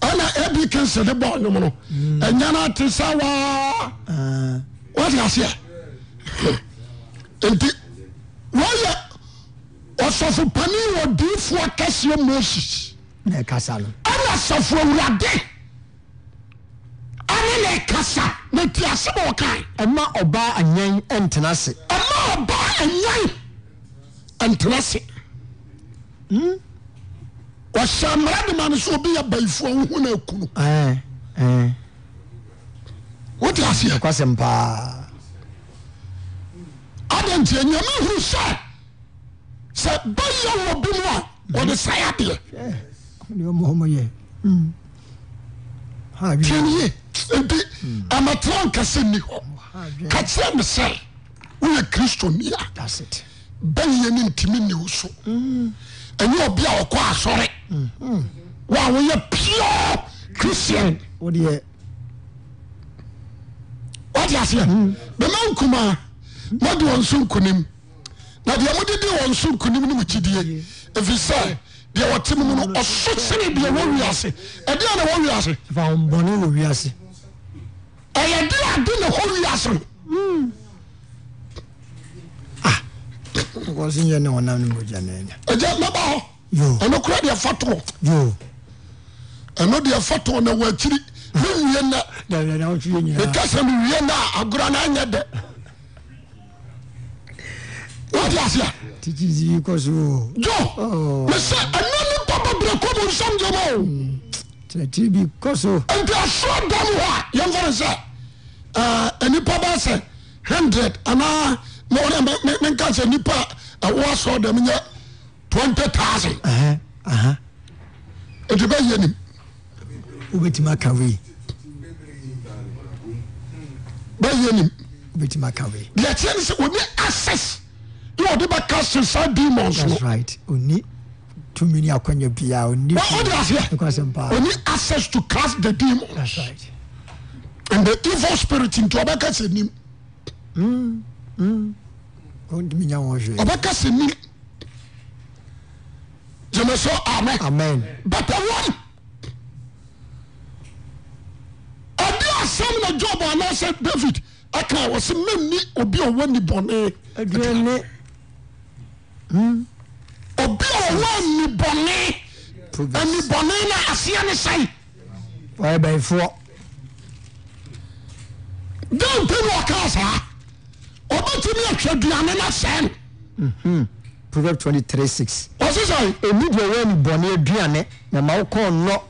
A: ɛna abi kense de bɔɔ nwom no anyan ate sa waa
B: Ah,
A: wate aseɛ nti wɔyɛ ɔsɔfo panin wɔ diifoɔ kɛseɛ moses
B: na ɛkasa no
A: ɛna asafo awurade ane ne kasa na ti ase ma ɔkae
B: ɛma ɔbaa anyan ɛntena se
A: ɛma ɔba Hmm? anyan ɛntena se wɔhyɛ mmara de ma no sɛ obi yɛ bayifoɔ wohu no aku no
B: ɛn ɛn
A: wote aseɛ
B: kwasɛm paa
A: adɛ nti nyame huru sɛ sɛ bayɛ wɔ bi mu a ɔde sae adeɛ
B: ne ɔmɔ ɔmɔ yɛ Mm. ha bi
A: tiɛne ye
B: Hmm.
A: nti amatera nkasɛ nni
B: Oh,
A: hɔ ka kyerɛ me sɛ woyɛ kristoni a
B: that's it Hmm.
A: bɛyɛ no ntimi nni wo so ɛnyɛ ɔbi a ɔkɔ asɔre wa woyɛ pure christian
B: o deɛ
A: wate
B: Hmm.
A: aseɛ bɛma nkumaa mode wɔn so nkonim na deɛ mode de wɔn so nkonim no mu kyidie ɛfiri sɛ deɛ wɔte mu no ɔso sene deɛ wɔwi ase ɛdeɛ na wɔwi ase
B: fa wɔn bɔnne wɔ wiase
A: ɛyɛ de ade na hɔwi ase no
B: wɔsi yɛ ne wɔnam ne mogya ne nya
A: agya mɛba hɔ
B: Yo.
A: ɛno kora deɛ fa toɔ
B: yoo
A: ɛno deɛ fa toɔ na wɔakyiri ne wie nnɛ
B: dabi na wɔtwi yɛ nyinaa
A: meka sɛ mewie no a agora no anyɛ dɛ wode ase a
B: titi zi kɔ so o
A: jo
B: Oh.
A: mesɛ ɛno ne bɔbɔbrɛ kɔmu nsɛm gyama o
B: tɛnɛtiri bi kɔ so
A: nti asoɔ dam hɔ a yɛmfa no sɛ ah, anipa ba sɛ 100 anaa na wɔne me- me- menka sɛ nnipa a ɛwɔ asoɔ dam nyɛ 20000
B: ɛhɛn ɛhɛn
A: ɛnti bɛyɛ nim
B: o bɛ tuma kan wei
A: bɛyɛ nim
B: o bɛ tuma kan wei
A: deɛ kyerɛ ne sɛ ɔne access ne wɔde bɛka so saa demons no
B: that's right o ni tumi ni akɔnya biya o ni
A: Wa- wode aseɛ
B: kwasɛm paa
A: ɔne access to cast the demon
B: that's right
A: and the evil spirit nti ɔbɛka sɛ nim
B: o ntumi nya wɔn hwɛ
A: ɔbɛka sɛ nim gyeme so amen
B: amen
A: bata wɔn ɔde asɛm na job anaasɛ david aka wɔ sɛ mamni obi a ɔwɔ ni bɔne
B: aduane ne
A: obi a ɔwɔ ni bɔne ani
B: progress
A: bɔne na aseɛ ne sɛe
B: wɔyɛ bɛyifoɔ
A: dante ne ɔkaa saa ɔbɛtumi ahwɛ aduane no sɛe no
B: proverb twenty three six
A: ɔse sɛe
B: èmi deɛ wɔyɛ ni bɔnne aduane na ma wokɔ nnɔ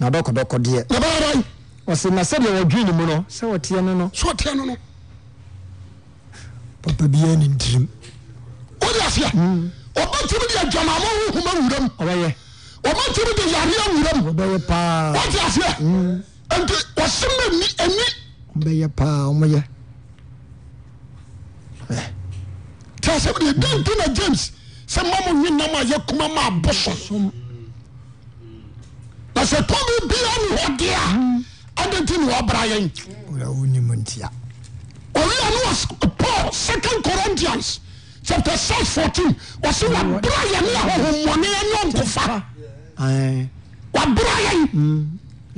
B: na dɔkɔdɔkɔ deɛ
A: na bɛyɛdɛn
B: wɔsi na sɛdeɛ wɔdwi ne mu no sɛ wɔteɛ no no
A: so ɔteɛ no no
B: papa bi yɛ ne ntirim
A: wode aseɛ ɔbɛtumi de adwamamɔ hohoma wuram
B: ɔbɛyɛ
A: ɔbɛtumi de yareɛ wuram
B: ɔbɛyɛ paa
A: wode aseɛ nti ɔsema ni ani
B: ɔbɛyɛ paa ɔmoyɛ
A: te asɛm deɛ dante na james sɛ ma mo nwe nam a yɛkoma ma abo so na sɛ tumi bia ne hɔ de a ade nti ne wɔbra yɛn
B: ɔyɛ wonim ntia
A: ɔwia ne wɔ paul second corinthians chapter 6 14 wɔse wabra yɛne ahohommɔne ɛnyɛ nkofa
B: ɛn
A: wabra yɛn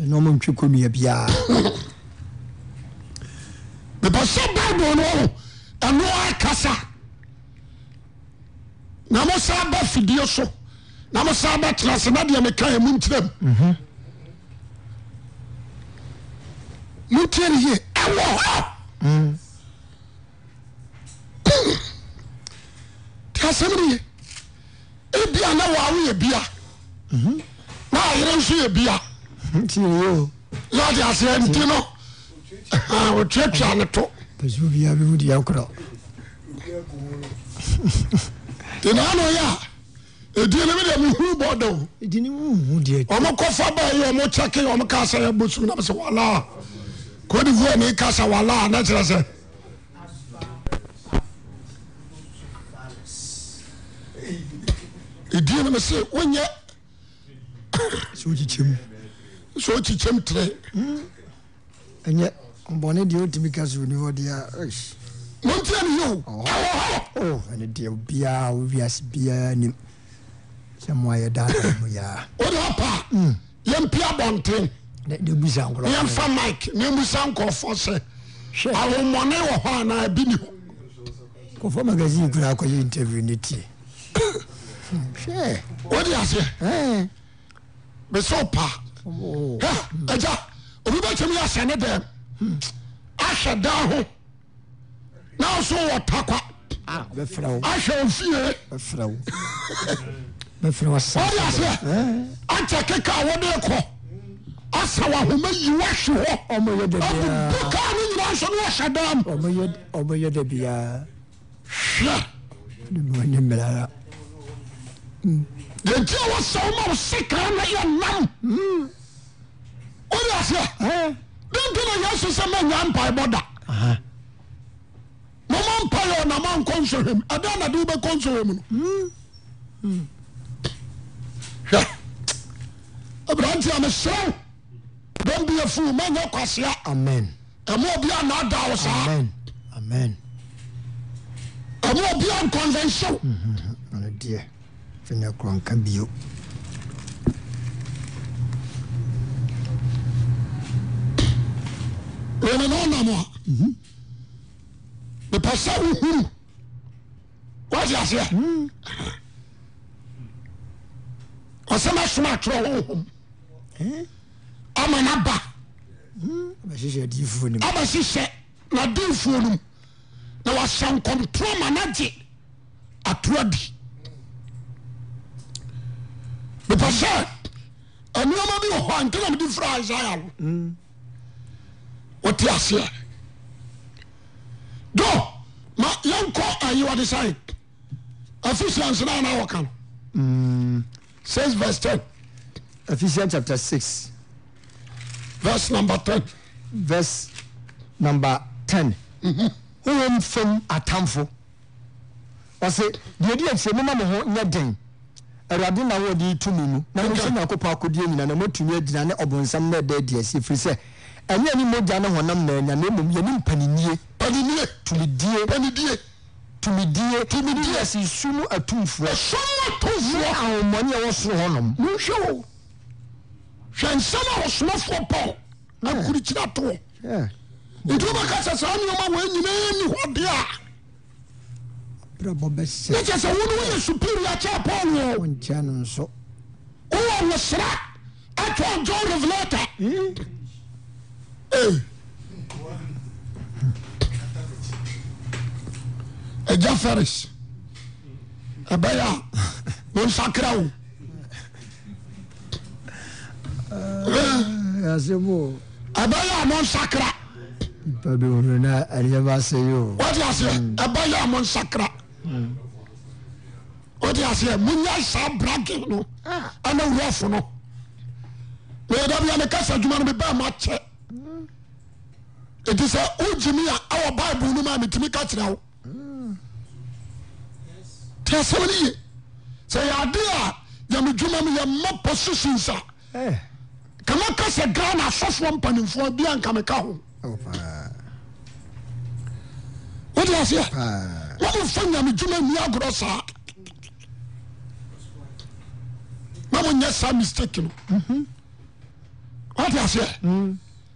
B: ɛna ɔmo ntwe kɔnnua biara
A: bɛbɛ sɛ bible no ɔho ɛno akasa na mo saa ba fidie so na mo saa ba tena ase na deɛ meka ɛ mu nkyerɛ m montie ne yie ɛwɔ hɔ te asɛm ne ye ebia na waawo yɛ bia na ayere nso yɛ bia
B: nti yɛ o
A: yɛde aseɛ nti no ah, wɔtuatua ne to
B: pɛsɛ obiara bi mu deɛ korɔ
A: tinaano yɛ a ɛdie no mede mehuru bɔ da o
B: ɛdini mu hu deɛ
A: ɔmo kɔfa ba yi ɔmo kyɛke ɔmo ka sɛ yɛbɔ sum na mesɛ walaa kodivoa ne ka sɛ walaa na kyerɛ sɛ ɛdie no me se wonyɛ
B: sɛ wokyekyɛ mu
A: sɛ okyikyɛm terɛ
B: ɛnyɛ ɔbɔne deɛ wotumi ka sɛ oni hɔ deɛ ɛs
A: montia ne yio ɛwɔ hɔ
B: o Oh, ɛne deɛ obiara owiase biara nim sɛ moayɛ daada mu yaa
A: wode hɔ paa yɛmpia bɔnten
B: ne ne bisa nkorɔ
A: yɛmfa mike na ɛmusa nkɔɔfoɔ sɛ
B: hwɛ
A: ahommɔne wɔ hɔ anaa bi ni hɔ
B: kɔfɔ magazine kura akɔyɛ interview ne tie hwɛ
A: wode aseɛ
B: ɛn
A: mesɛ paa
B: ɔmo
A: Hɛ, agya obi bɛtumi yɛhyɛ ne dɛm ahwɛ da ho na wo so wɔ takwa
B: a bɛfrɛ wo
A: ahwɛ ofie
B: bɛfrɛ wo mɛfiri wɔ sɛ
A: ɔde aseɛ akyɛ keka a wɔde kɔ asa wahoma yi wahwe hɔ
B: ɔmɔyɛ da biara
A: abubu kaa no nyinaa nso ne wɔhyɛ dam
B: ɔmɔyɛ- ɔmɔyɛ da biara
A: hwɛ
B: ne mu ɔnyɛ mmerara
A: yɛnti a wɔsɛ wo ma wo se kaa na yɛ nam wode aseɛ dente na yɛso sɛ manya mpaebɔ da mama mpayɛ ɔnama nkɔ nsɔhwɛm ɛda na de wobɛkɔ nsɔhwɛm no hwɛ aberanti a meserɛ wo dɔm bi afu manyɛ kwasea
B: amen
A: ɛma obia naada wo saa
B: amen amen
A: ɛma obia nkɔnvɛnhyɛw
B: ɔno deɛ fi ne korɔ nka bio
A: wene na ɔnam a mepɛ sɛ wohuru wate aseɛ ɔsɛ mɛsoma akyerɛ honhom ama no ba
B: bɛhyehyɛ adiifoɔ nim
A: aba hyehyɛ nademfuo no mu na wahyɛ nkɔmtorɔ ma no gye atoa di mepɛ sɛ anoɔma bi wɔ hɔ a nti na mede fira isaia wo wote aseɛ do ma yɛnkɔ ayiwade sae efesians na ana wɔka no 6 verse 10
B: ephesians chapter 6
A: verse number 10
B: verse number 10 Mhm. wowɔ mfam atamfo ɔse deɛ di akyiɛ mema mo ho nyɛ den awurade na wɔde tumi mu na monhyɛ nyankopɔn akodeɛ nyina na moatumi agyina ne ɔbonsam na ɛda adi asi ɛfiri sɛ ɛnyɛ ne mogya ne honam na anya na mmom yɛne mpanenie
A: panidie
B: tumidie
A: panidie
B: tumidie tumidie asi su mu atumfoɔ
A: ɛsom atomfoɔ
B: ne ahommɔne a ɛwɔ soro hɔnom
A: monhwɛ o hwɛ nsɛm a ɔsomafoɔ paul akurikyiri atoɔ
B: Yeah.
A: nti wobɛka sɛ saa nneɔma wɔ nyinaa ni hɔ deɛ a
B: brɛbɔ
A: ne
B: bɛhyɛ
A: kyɛ sɛ wo ne woyɛ superior kyɛ paul o
B: wɔnkyɛ no nso
A: wowɔ wosra atwa john revelator Ei. agya feris ɛbɛyɛ a wonsakra wo
B: asɛm o
A: ɛbɛyɛ a monsakra
B: nipa bi hunu na ɛdeɛ ba sɛ yi o
A: wọ́n ti aseɛ ɛbɛ yɛ ɔmo nsakra wọ́n ti aseɛ mo nya saa brakin no ɛna wurɔfo no mɛ dabi a mi kasa adwuma no mi bɛn ma kyɛ eti sɛ o jimi a ɛwɔ baibu no mu a mi ti mi ka kyerɛ o tí a sɛbɛn yie sɛ yɛ ade a yɛmi dwuma mi yɛ mma positions a
B: ɛɛ
A: kama kasa ghana asɔfoɔ mpanimfoɔ bi a nkame ka ho
B: ɛwɔ paa
A: wọ́n ti aseɛ.
B: paa
A: wɔmfa nyame dwuma nni agorɔ saa na monyɛ saa mistake no wate aseɛ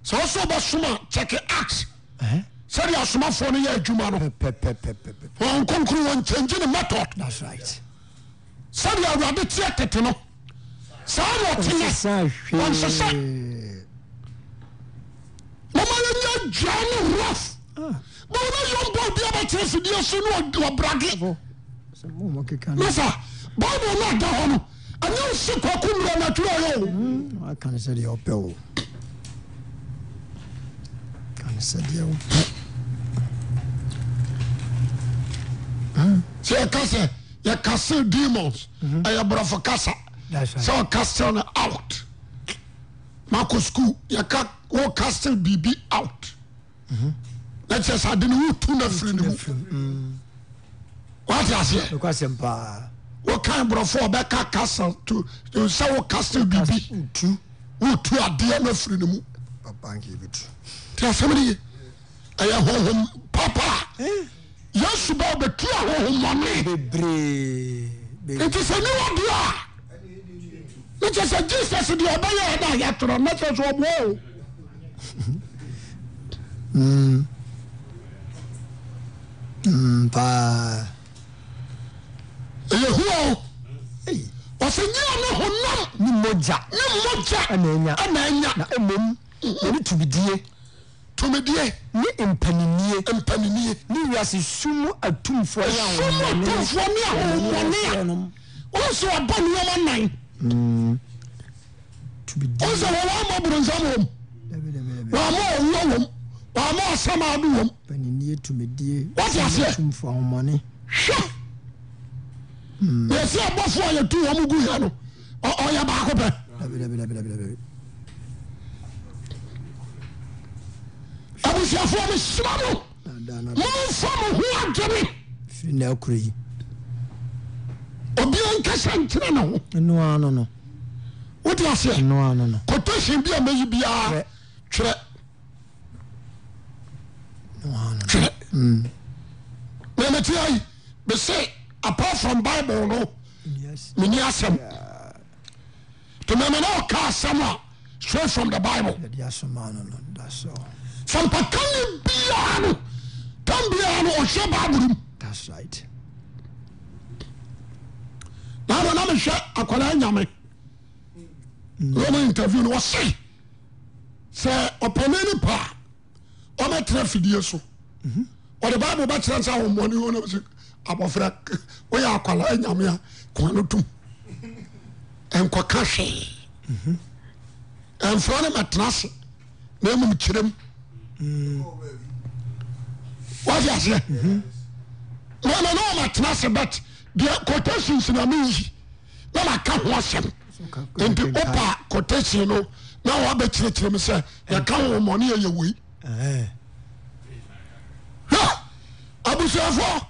A: sɛ wo so wobɛsom a kyɛke act
B: ɛhɛn
A: sɛde asomafoɔ no yɛ adwuma
B: Eh.
A: no
B: pɛpɛpɛpɛpɛ
A: wɔnkonkro wɔnkyɛngye ne method
B: that's right
A: sɛde awurade teɛ tete no saa ne ɔteyɛ
B: sisan hwee
A: Wɔnsesa. mama yɛnya adwua no rof na wobɛyɔmpa obi abɛkyerɛ fidie so ne wɔbrage
B: bɔ sɛ mo mɔ keka no
A: masa bible no ada hɔ no ɛnyɛ nse kwako mmura natwerɛ yɛ o
B: aka no sɛ deɛ ɔpɛ o ka no sɛ deɛ ɔpɛ
A: sɛ yɛka sɛ yɛkase demons ɛyɛ borɔfo kasa
B: Mhm. That's right.
A: sɛ ɔkastel no out makɔ skul yɛka wokastel biribi out
B: Mhm.
A: na kyerɛ sɛ ade no wotu no afiri no mu
B: mm.
A: wate aseɛ
B: ɛkɔ asɛm paa
A: wokan borɔfo a ɔbɛka castle to to sɛ wokastel biribi
B: ntu
A: wotu adeɛ no afiri no mu
B: papa nke bi tu
A: tí a sẹ́mi nìyí ẹ̀yẹ hóhóm pápá yẹ́sù bá ọbẹ̀ tú àhóhóm mọ́ni
B: bebree bebree
A: ètò sẹ́ ní wọ́n bí a ní kyẹ́ sẹ́ Jesus di ọba yẹ ẹ̀dá yẹ tọrọ ní kyẹ́ sẹ́ ọbọ̀ o.
B: Hmm. Mm, paa
A: ẹ̀yẹ hu o
B: Ei,
A: ọ̀sẹ̀ yín ọ̀nà hónám
B: ne mogya
A: ní mọ́jà
B: Ɛna ɛnya.
A: ẹ̀nà ẹ̀nya
B: na mmom yɛne tumidie
A: tòmídìẹ
B: ne mpaninie
A: mpanimíye
B: ne wiase sum atumfoɔ
A: súnmọ̀ tó fún mi àhóhóm mọ́ni à wọn sọ ọba nneọma nnan
B: to be
A: wọn sọ wọn wàá mọ buronsam wọm
B: dɛbɛdɛbɛ
A: wàá mọ owó wọm wàá mọ asamadu wọm
B: panini tumidie
A: Wate aseɛ?
B: tumfo ahomɔne
A: hwɛ yɛsi abɔfo a yɛtu wɔn gu yɛ no ɔ- ɔyɛ baako pɛ
B: dɛbɛdɛbɛdɛbɛdɛbɛ
A: abusuafo a mi sira mo
B: nada nada
A: mo nfa mo ho adwene
B: firi na akuro yi
A: obi a nkasa nkyerɛ na ho
B: ɛno a no no
A: wotu aseɛ
B: ɛno a no no
A: kotation bi a meyi biara
B: Twerɛ.
A: twerɛ
B: ɛno a no
A: twerɛ na mɛti ayi bɛsɛ apart from bible no.
B: no yes
A: meni asɛm nti mɛmɛ na ɔka asɛm a straight from the bible
B: yɛde asoma no no that's all
A: sampaka ne biara no tam biara no ɔhwɛ bible mu
B: that's right
A: na ama na mehwɛ akwadaa nyame wɔma interview no wɔse sɛ ɔpɛne ne pa a ɔbɛtena afidie so
B: Mm-hmm.
A: ɔde bible bɛkyerɛ sɛ ahommɔne hɔ nabɛsɛ abɔfra woyɛ akwadaa e nyame a koa no tom ɛnkɔka hwee
B: Mm-hmm.
A: ɛmfra ne mɛtena ase na mmom kyerɛm wade aseɛ mama ne ɔmatena ase but deɛ quotations na meyi na maka ho asɛm nti wopa quotation no na wabɛkyerɛkyerɛ m sɛ yɛka wo mmɔne yɛyɛ wei
B: ɛɛ
A: hwɛ abusuafoɔ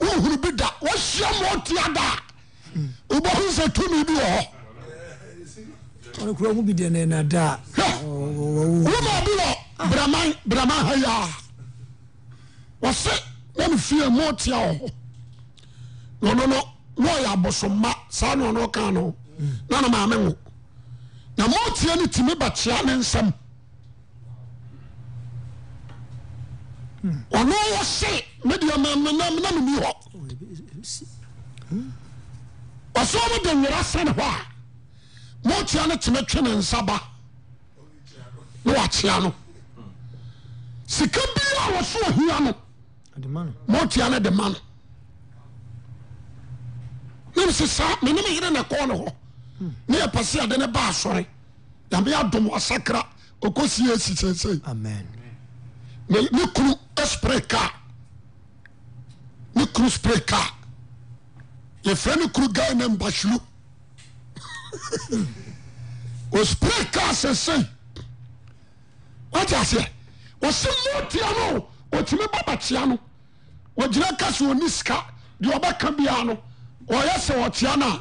A: wohunu bi da wahyia ma ɔtia da a wobɛhu sɛ tumi bi wɔ hɔ
B: ɔno kura ho bi deɛ na nada a
A: Hwɛ.
B: wɔwɔ
A: woma bi wɔ braman braman ha yia wɔse na ne fie mu tia wɔ hɔ na ɔno no na ɔyɛ abosomma saa na ɔno ka no na ne maame wo na ma ɔtia no tumi bɛkyea ne nsɛm ɔno wɔ se medeɛ na meni hɔ ɔsɛ ɔmo de nwera sɛne hɔ a ma ɔtia no tumi twe ne nsa ba na wakyea no sika bia wɔ so ɔhia no
B: adema no
A: motia no de ma no nem se saa mene me yere ne kɔɔ ne hɔ ne yɛpɛ sɛ yɛde ne ba asɔre nyame adom asakra ɔkɔsie asi seesei
B: amen
A: ne ne kunu spray car ne kunu spray car yɛfrɛ ne kunu guy ne mbasulu o spray car sɛsɛi wagye aseɛ wɔse motia no ɔtumi ba bakyea no wɔgyina ka sɛ ɔni sika deɛ ɔbɛka biara no ɔyɛ sɛ ɔkyea no a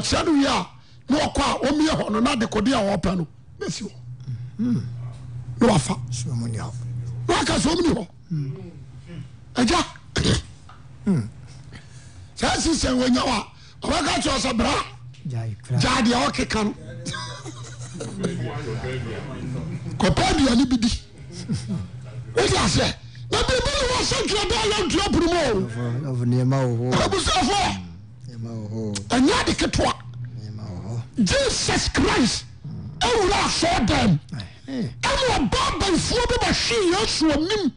A: ɔkyea no wie a na ɔkɔ a ɔmie hɔ no na de kɔde a wɔpɛ no na si hɔ na wafa
B: so ɔmo ne aw
A: waka sɛ omni hɔ agya saa si sɛ wɔnya wa ɔbɛka kyerɛ sɛ bra
B: gyae kra
A: gyaa deɛ ɔkeka no kɔpɛ aduane bi di wode aseɛ na biribine wɔ sɛ ntwerɛ da yɛntua pono mu
B: ɔfo nneɛma wɔ
A: o
B: hɔ
A: abusuafoɔ
B: nneɛma wɔ hɔ
A: ɛnyɛ de ketewa
B: nneɛma wɔ hɔ
A: jesus christ awura asɔɔ dam
B: Ɛhɛn.
A: ɛne ɔba baifuo bi bɛhwee yesu anim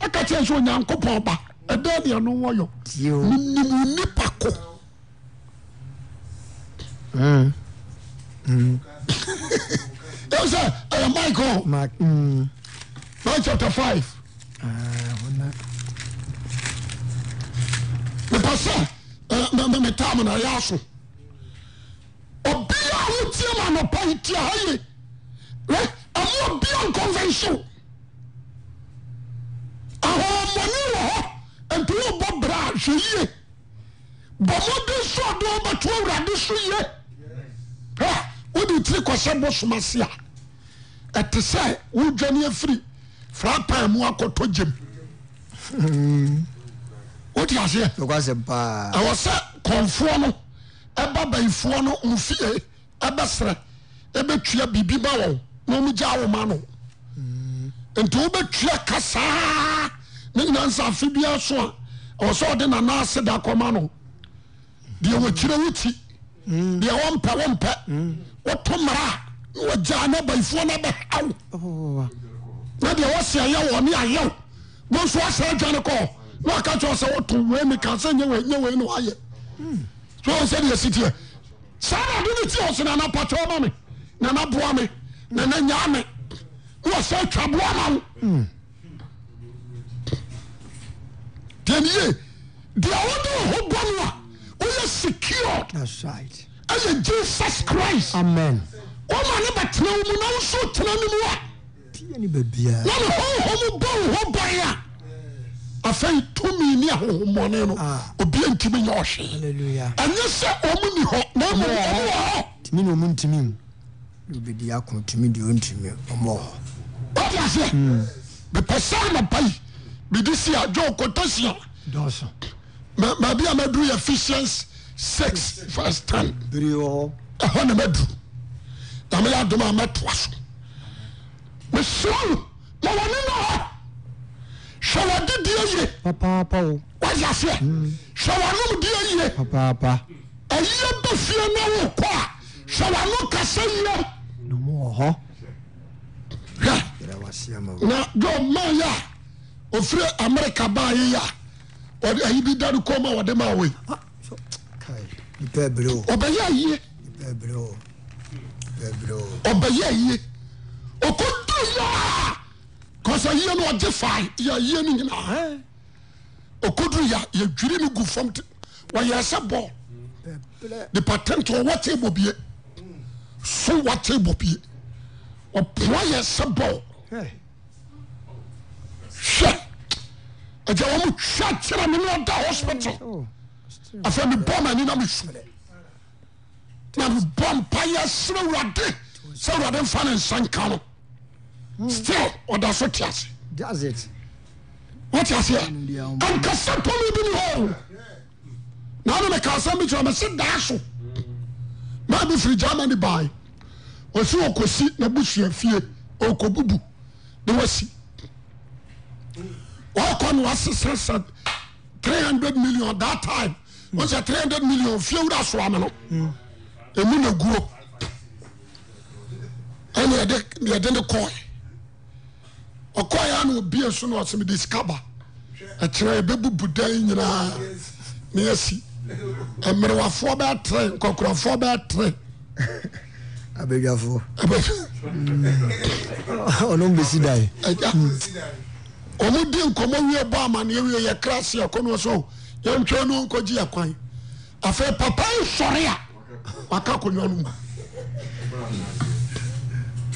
A: ɛka kyerɛ sɛ onyankopɔn ba ɛda deɛ no wɔyɔ
B: tie o
A: menim nipa ko ɛw sɛ ɛyɛ michael
B: mark mm,
A: nine chapter five
B: ah, wɔna
A: mepɛ sɛ ɛ, me- me- metaa mo na ɛyɛ aso obia wotie ma anɔpa yi tia ha ye ɛ ɛmo obia nconvention ahoɔmmɔne wɔ hɔ ɛnti wobɔ bra a, hwɛ yie bɔ mmɔden so ɔde wobɛto awurade so ye hɛ wode tiri kɔsɛ bosoma se a ɛte sɛ wodwane afiri fra pan mu akɔtɔ gyem wode aseɛ
B: nokwasɛm paa
A: ɛwɔ sɛ kɔnfoɔ no ɛba bayifoɔ no mfie ɛbɛserɛ ɛbɛtua biribi ma wɔn na ɔmo gya wo ma no nti wobɛtua kasaa ne nyina nsa afe biara so a ɛwɔ sɛ ɔde nana ase da kɔma no deɛ wɔkyerɛ wo ti deɛ wɔmpɛ wɔmpɛ woto mmara a na wɔgyaa na bayifoɔ no bɛhaw
B: Ɔwɔwɔwɔ.
A: na deɛ wɔse ɛyɛ wɔ ne ayɛw mo nso asɛ adwane kɔ na ɔka kyerɛ wo sɛ woto wei mi ka sɛ nyɛ wei nyɛ wei ne woayɛ wọn sẹ de esi tiẹ saa na adi ni ti ọsẹ na anapatọ ọma mi na anaboa mi na ananya mi na ọsẹ atwa boa ma wo diẹ niye diẹ ọdún ọhún bọ mu a wọ́n yẹ secured
B: that's right
A: ẹ yẹ Jesus Christ.
B: amen.
A: wọ́n ma ne bɛ tena wo mu na wo so tena ne mu a
B: tiɛ ni bɛ biya.
A: na ne honhom bɔ wo ho ban a afei tumi ne ahohommɔne no
B: Ah.
A: obia ntimi nyɛ ɔhwee
B: hallelujah.
A: ɛnyɛ sɛ ɔmo ni hɔ na mmom
B: Ɔmo wɔ
A: ɔmo wɔ hɔ
B: timi ni o mu ntimi mu. n'o bɛ di a kun timi di o ntimi o mɔ.
A: wode
B: Hmm.
A: aseɛ mepɛ sɛ anapa yi mede si a dwo kotasia
B: dɔɔsɔn.
A: maabi a maduru yɛ ephesians 6 verse 10
B: biri wɔ.
A: ɛhɔ na madu na meyɛ adom a mɛtoa so mesrɛ wo ma wɔne no hɔ hwɛ wɔdedeɛ yie
B: papaapa o.
A: wáyà fẹ sọwọnú di ẹyẹ
B: papaapa.
A: ẹyẹ bẹ fìyẹ náà wò kọ a sọwọnú kẹsẹ yẹ
B: na mo wɔ hɔ.
A: hẹ
B: yɛrɛ wa se a ma o.
A: na jọ maa yà òfin amẹrika báà yẹ yà ọdẹ ẹyí bi dáni kọ́ ma ọdẹ máa wẹ
B: kai ni bɛɛ biri o.
A: ọbẹ yẹ ẹyẹ
B: ni bɛɛ biri o. bɛɛ biri o.
A: ọbẹ yẹ ẹyẹ ọkọ dùn yà kọsẹ yẹ ni ọjẹ fà yà yẹ ni nyina
B: ɛɛ
A: ọkọ dùn yà yẹ dwiri ni gu fam ti wà yẹ ẹsẹ bọ
B: bɛɛ bɛɛ.
A: nípa tẹntẹ ọwọ tẹbọ bie so wọ tẹbọ bie ọpọ yẹ ẹsẹ bọ.
B: ɛɛ
A: hwɛ agya wɔ mo twa kyerɛ me ne ɔda hospital
B: o.
A: afei mebɔ m'ani na mesumɛ na mebɔ mpayɛ serɛ awurade sɛ awurade mfa ne nsa nka no still ɔda so te ase
B: that's it.
A: wote aseɛ ankasa tɔme bi ne hɔ na ne meka asɛm bi kyerɛ me se daa so ma bi firi germany bae ɔsi ɔkɔsi na busua fie ɔkɔbubu ne wasi wɔkɔ no wasesɛ sɛ 300 million that time wosɛ 300 million fie wura soa me no ɛmu na guro ɛne yɛde- yɛde ne kɔe ɔkɔɛ a na obie so na ɔsɛ mede sika ba ɛkyerɛ yɛbɛbubu dan nyinaa ne asi mmerewafoɔ bɛtere nkɔkorɔfoɔ bɛtere
B: abɛdwafo.
A: Ɛbɛ-
B: ɔno n bɛ si da yi.
A: agya ɔmo di nkɔmɔ wie bɔ amanneɛ wie yɛ kra se ɛkɔnoɔ sɛ yɛntwɛ no nkɔgye yɛ kwan afei papa nsɔre a waka akonnwa no mu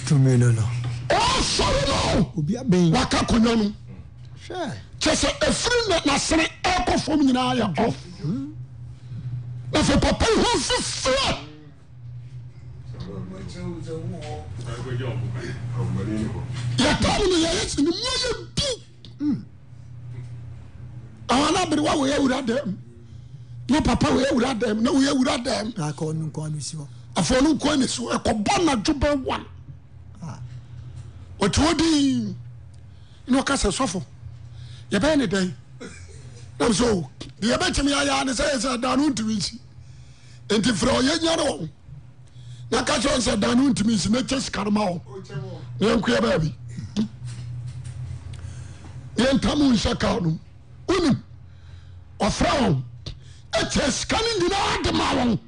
B: tumi no no.
A: ɔsɔre no
B: obi abɛn.
A: waka akonnwa no mu
B: hwɛ.
A: kyɛ sɛ ɛfiri na- nasene ɛkɔ fam nyinaa yɛ ɔ na afei papa yi ho fifirɛ yɛtam no yɛyɛ sɛ ne mu yɛ bi awa no abere wa wɔyɛ awura dɛm ne papa wɔyɛ awura dɛm na wɔyɛ awura dɛm
B: n'aka ɔnu nkɔ anu si hɔ.
A: afei ɔno nkoa ne so ɛkɔbɔ nadwo bɛ wan ɔti hɔ din ne ɔka sɛ sɔfo yɛbɛyɛ ne dɛn nam sɛ o deɛ yɛbɛkyem yɛayɛ ne sɛ yɛ sɛ da no wontumi nsi enti frɛ ɔyɛnya ne wɔ na ka kyerɛ wo sɛ da no wontumi nsi na kyɛ sika no ma wɔ ne yɛnkoa baabi ne yɛntam wo nhyɛ kaa no wonim ɔfrɛ wɔn ɛkyɛ sika no nyinaa de ma wɔn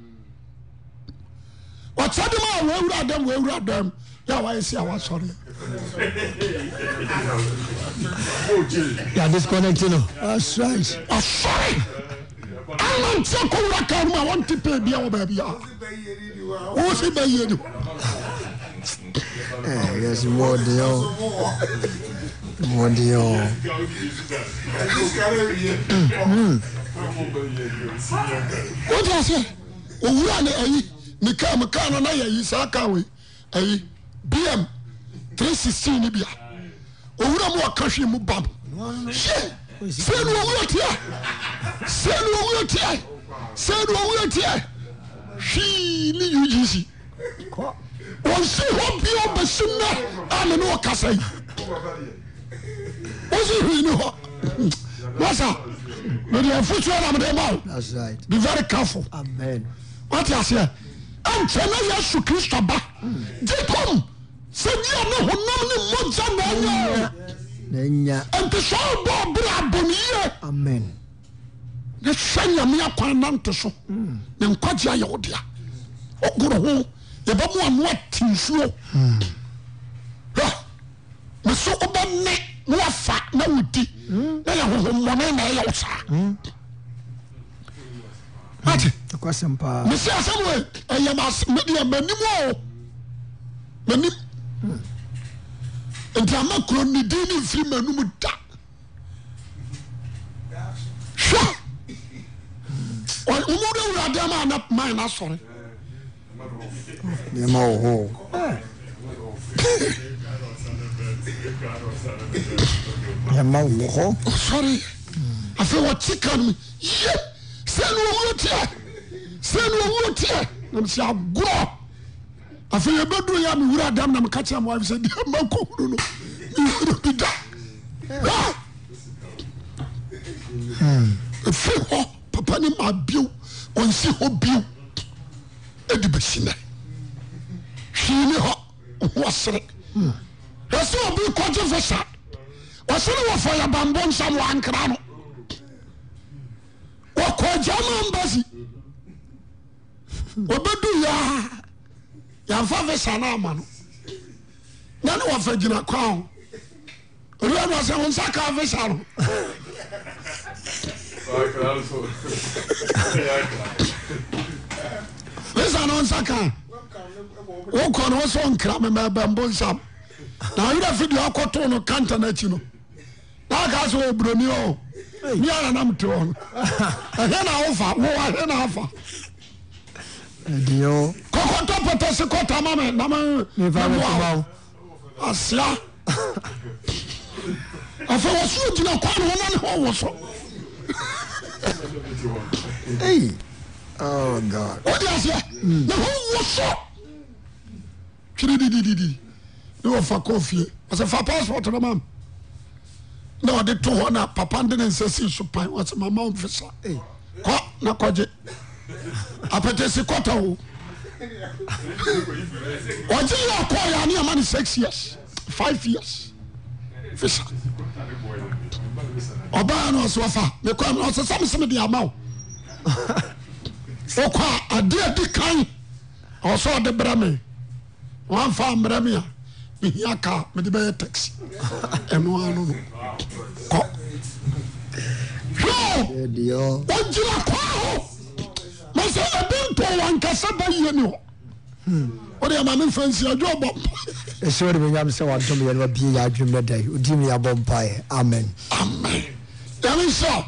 A: ɔkyɛ de ma wɔn awura dɛm wɔn awura dɛm yɛ a wayɛ si a wasɔre
B: yà disconnect no. that's right.
A: ɔsɔre anante akɔwura kaa no mu a wɔnte pɛ bia wɔ baabi a wo se bɛyie no
B: ɛɛ yɛsi mɔɔden o mɔɔden o.
A: wode aseɛ owura ne ayi ne kaa mu kaa no na yɛ ayi saa kaa wei ayi bm 316 no bia owura mu ɔka hwee mu bam hye sɛ ne owura teɛ sɛ ne owura teɛ sɛ ne owura teɛ hwii ne ugc
B: kɔ.
A: wɔnsi hɔ bia ɔbɛsi nnɛ a ne ne wɔkasa yi wɔsi hwii ne hɔ wasa mede afosuo na mede ma wo
B: that's right.
A: be very careful
B: amen.
A: wate aseɛ ɛnkyɛ na yesu kristo ba gye tom sɛ nyia ne honam ne mogya na ɛnyɛ
B: na n ya
A: ɛnti sɛ wobɔ berɛ abom yie
B: amen.
A: ne hwɛ nyame kwan nante so ne nkwagye ayɛ wo dea wogoro ho yɛbɛmu anoa te nsuo hwɛ me so wobɛne na wafa na wodi na yɛ honhommɔne na ɛyɛ wo saa ate
B: ɛkɔsɛm paa
A: mesi asɛm we ɛyɛ mas- medeɛ m'anim o m'anim nti ama kuro ne din ne mfiri m'anom da hwɛ womode wurade ma ana ma no asɔre
B: nneɛma wɔ hɔ o. nneɛma wɔ hɔ
A: ɔsɔre afei wɔkye ka no mu ye sɛ ne ɔwuro teɛ sɛ ne ɔwuro teɛ na mesɛ agorɔ afei yɛbɛduru yɛ a mewura adam na meka kyerɛ moafi sɛ deɛ ma kɔhunu no mewuro bi da Ha! ɛfiri hɔ papa ne ma bio ɔnsi hɔ bio ɛde bɛsi nɛ hwii ne hɔ ho ɔsere ɛsɛ obi kɔgye fo sa ɔsere wɔfa yɛ bambɔ nsam wankra no wɔkɔ gyama mbasi wɔbɛdu yɛa yɛmfa visa no ama no na ne wɔfa gyina kwa ho owura no ɔsɛ wo nsa ka visa no visa no wo nsa ka wokɔ no wo sɛ ɔnkra me mɛbɛmbɔ nsam na werɛ fi deɛ ɔkɔtoo no kanta no akyi no na aka sɛ ɔbroni o ne ara nam te hɔ no ɛhɛ na wofa wo ahɛ na afa
B: ɛdeɛ o
A: kɔkɔtɔ pɔtɔ se kɔta ma me na ma-
B: mefa
A: ma
B: bɛto ba
A: wo
B: wo
A: asia afei wɔ so gyina kwa ne wɔma ne hɔ wɔ so
B: ei oh god
A: wode aseɛ na hɔ wɔ so twere didididi ne wɔfa kɔ fie ɔsɛ fa passport no mam na ɔde to hɔ na papa nde ne nsɛ sii so pan ɔsɛ mama mfesa
B: Ei.
A: kɔ na kɔgye apɛtɛ si kɔtɔ wo ɔgye yɛ ɔkɔ yɛ ane ama ne six years five years fisa ɔbaa no ɔsɛ ɔfa mekɔ no ɔsɛ sɛ meseme de ama wo wokɔ a ade adi kan ɔwɔ sɛ ɔde brɛ me wamfa mmerɛ me a mehia kaa mede bɛyɛ taxi ɛnoa no no kɔ hwɛ o!
B: ɛdeɛ o
A: ɔgyina kwaa hɔ masɛ ɛde ntɔ wankasa bɛyie ne hɔ wode ama me mfa nsi adwo bɔ mpa
B: ɛsɛ wode bɛnyam sɛ wadom yɛ no wabie yɛ adwum no da yi ɔdi mu yɛabɔ mpaeɛ amen
A: amen yame sɛ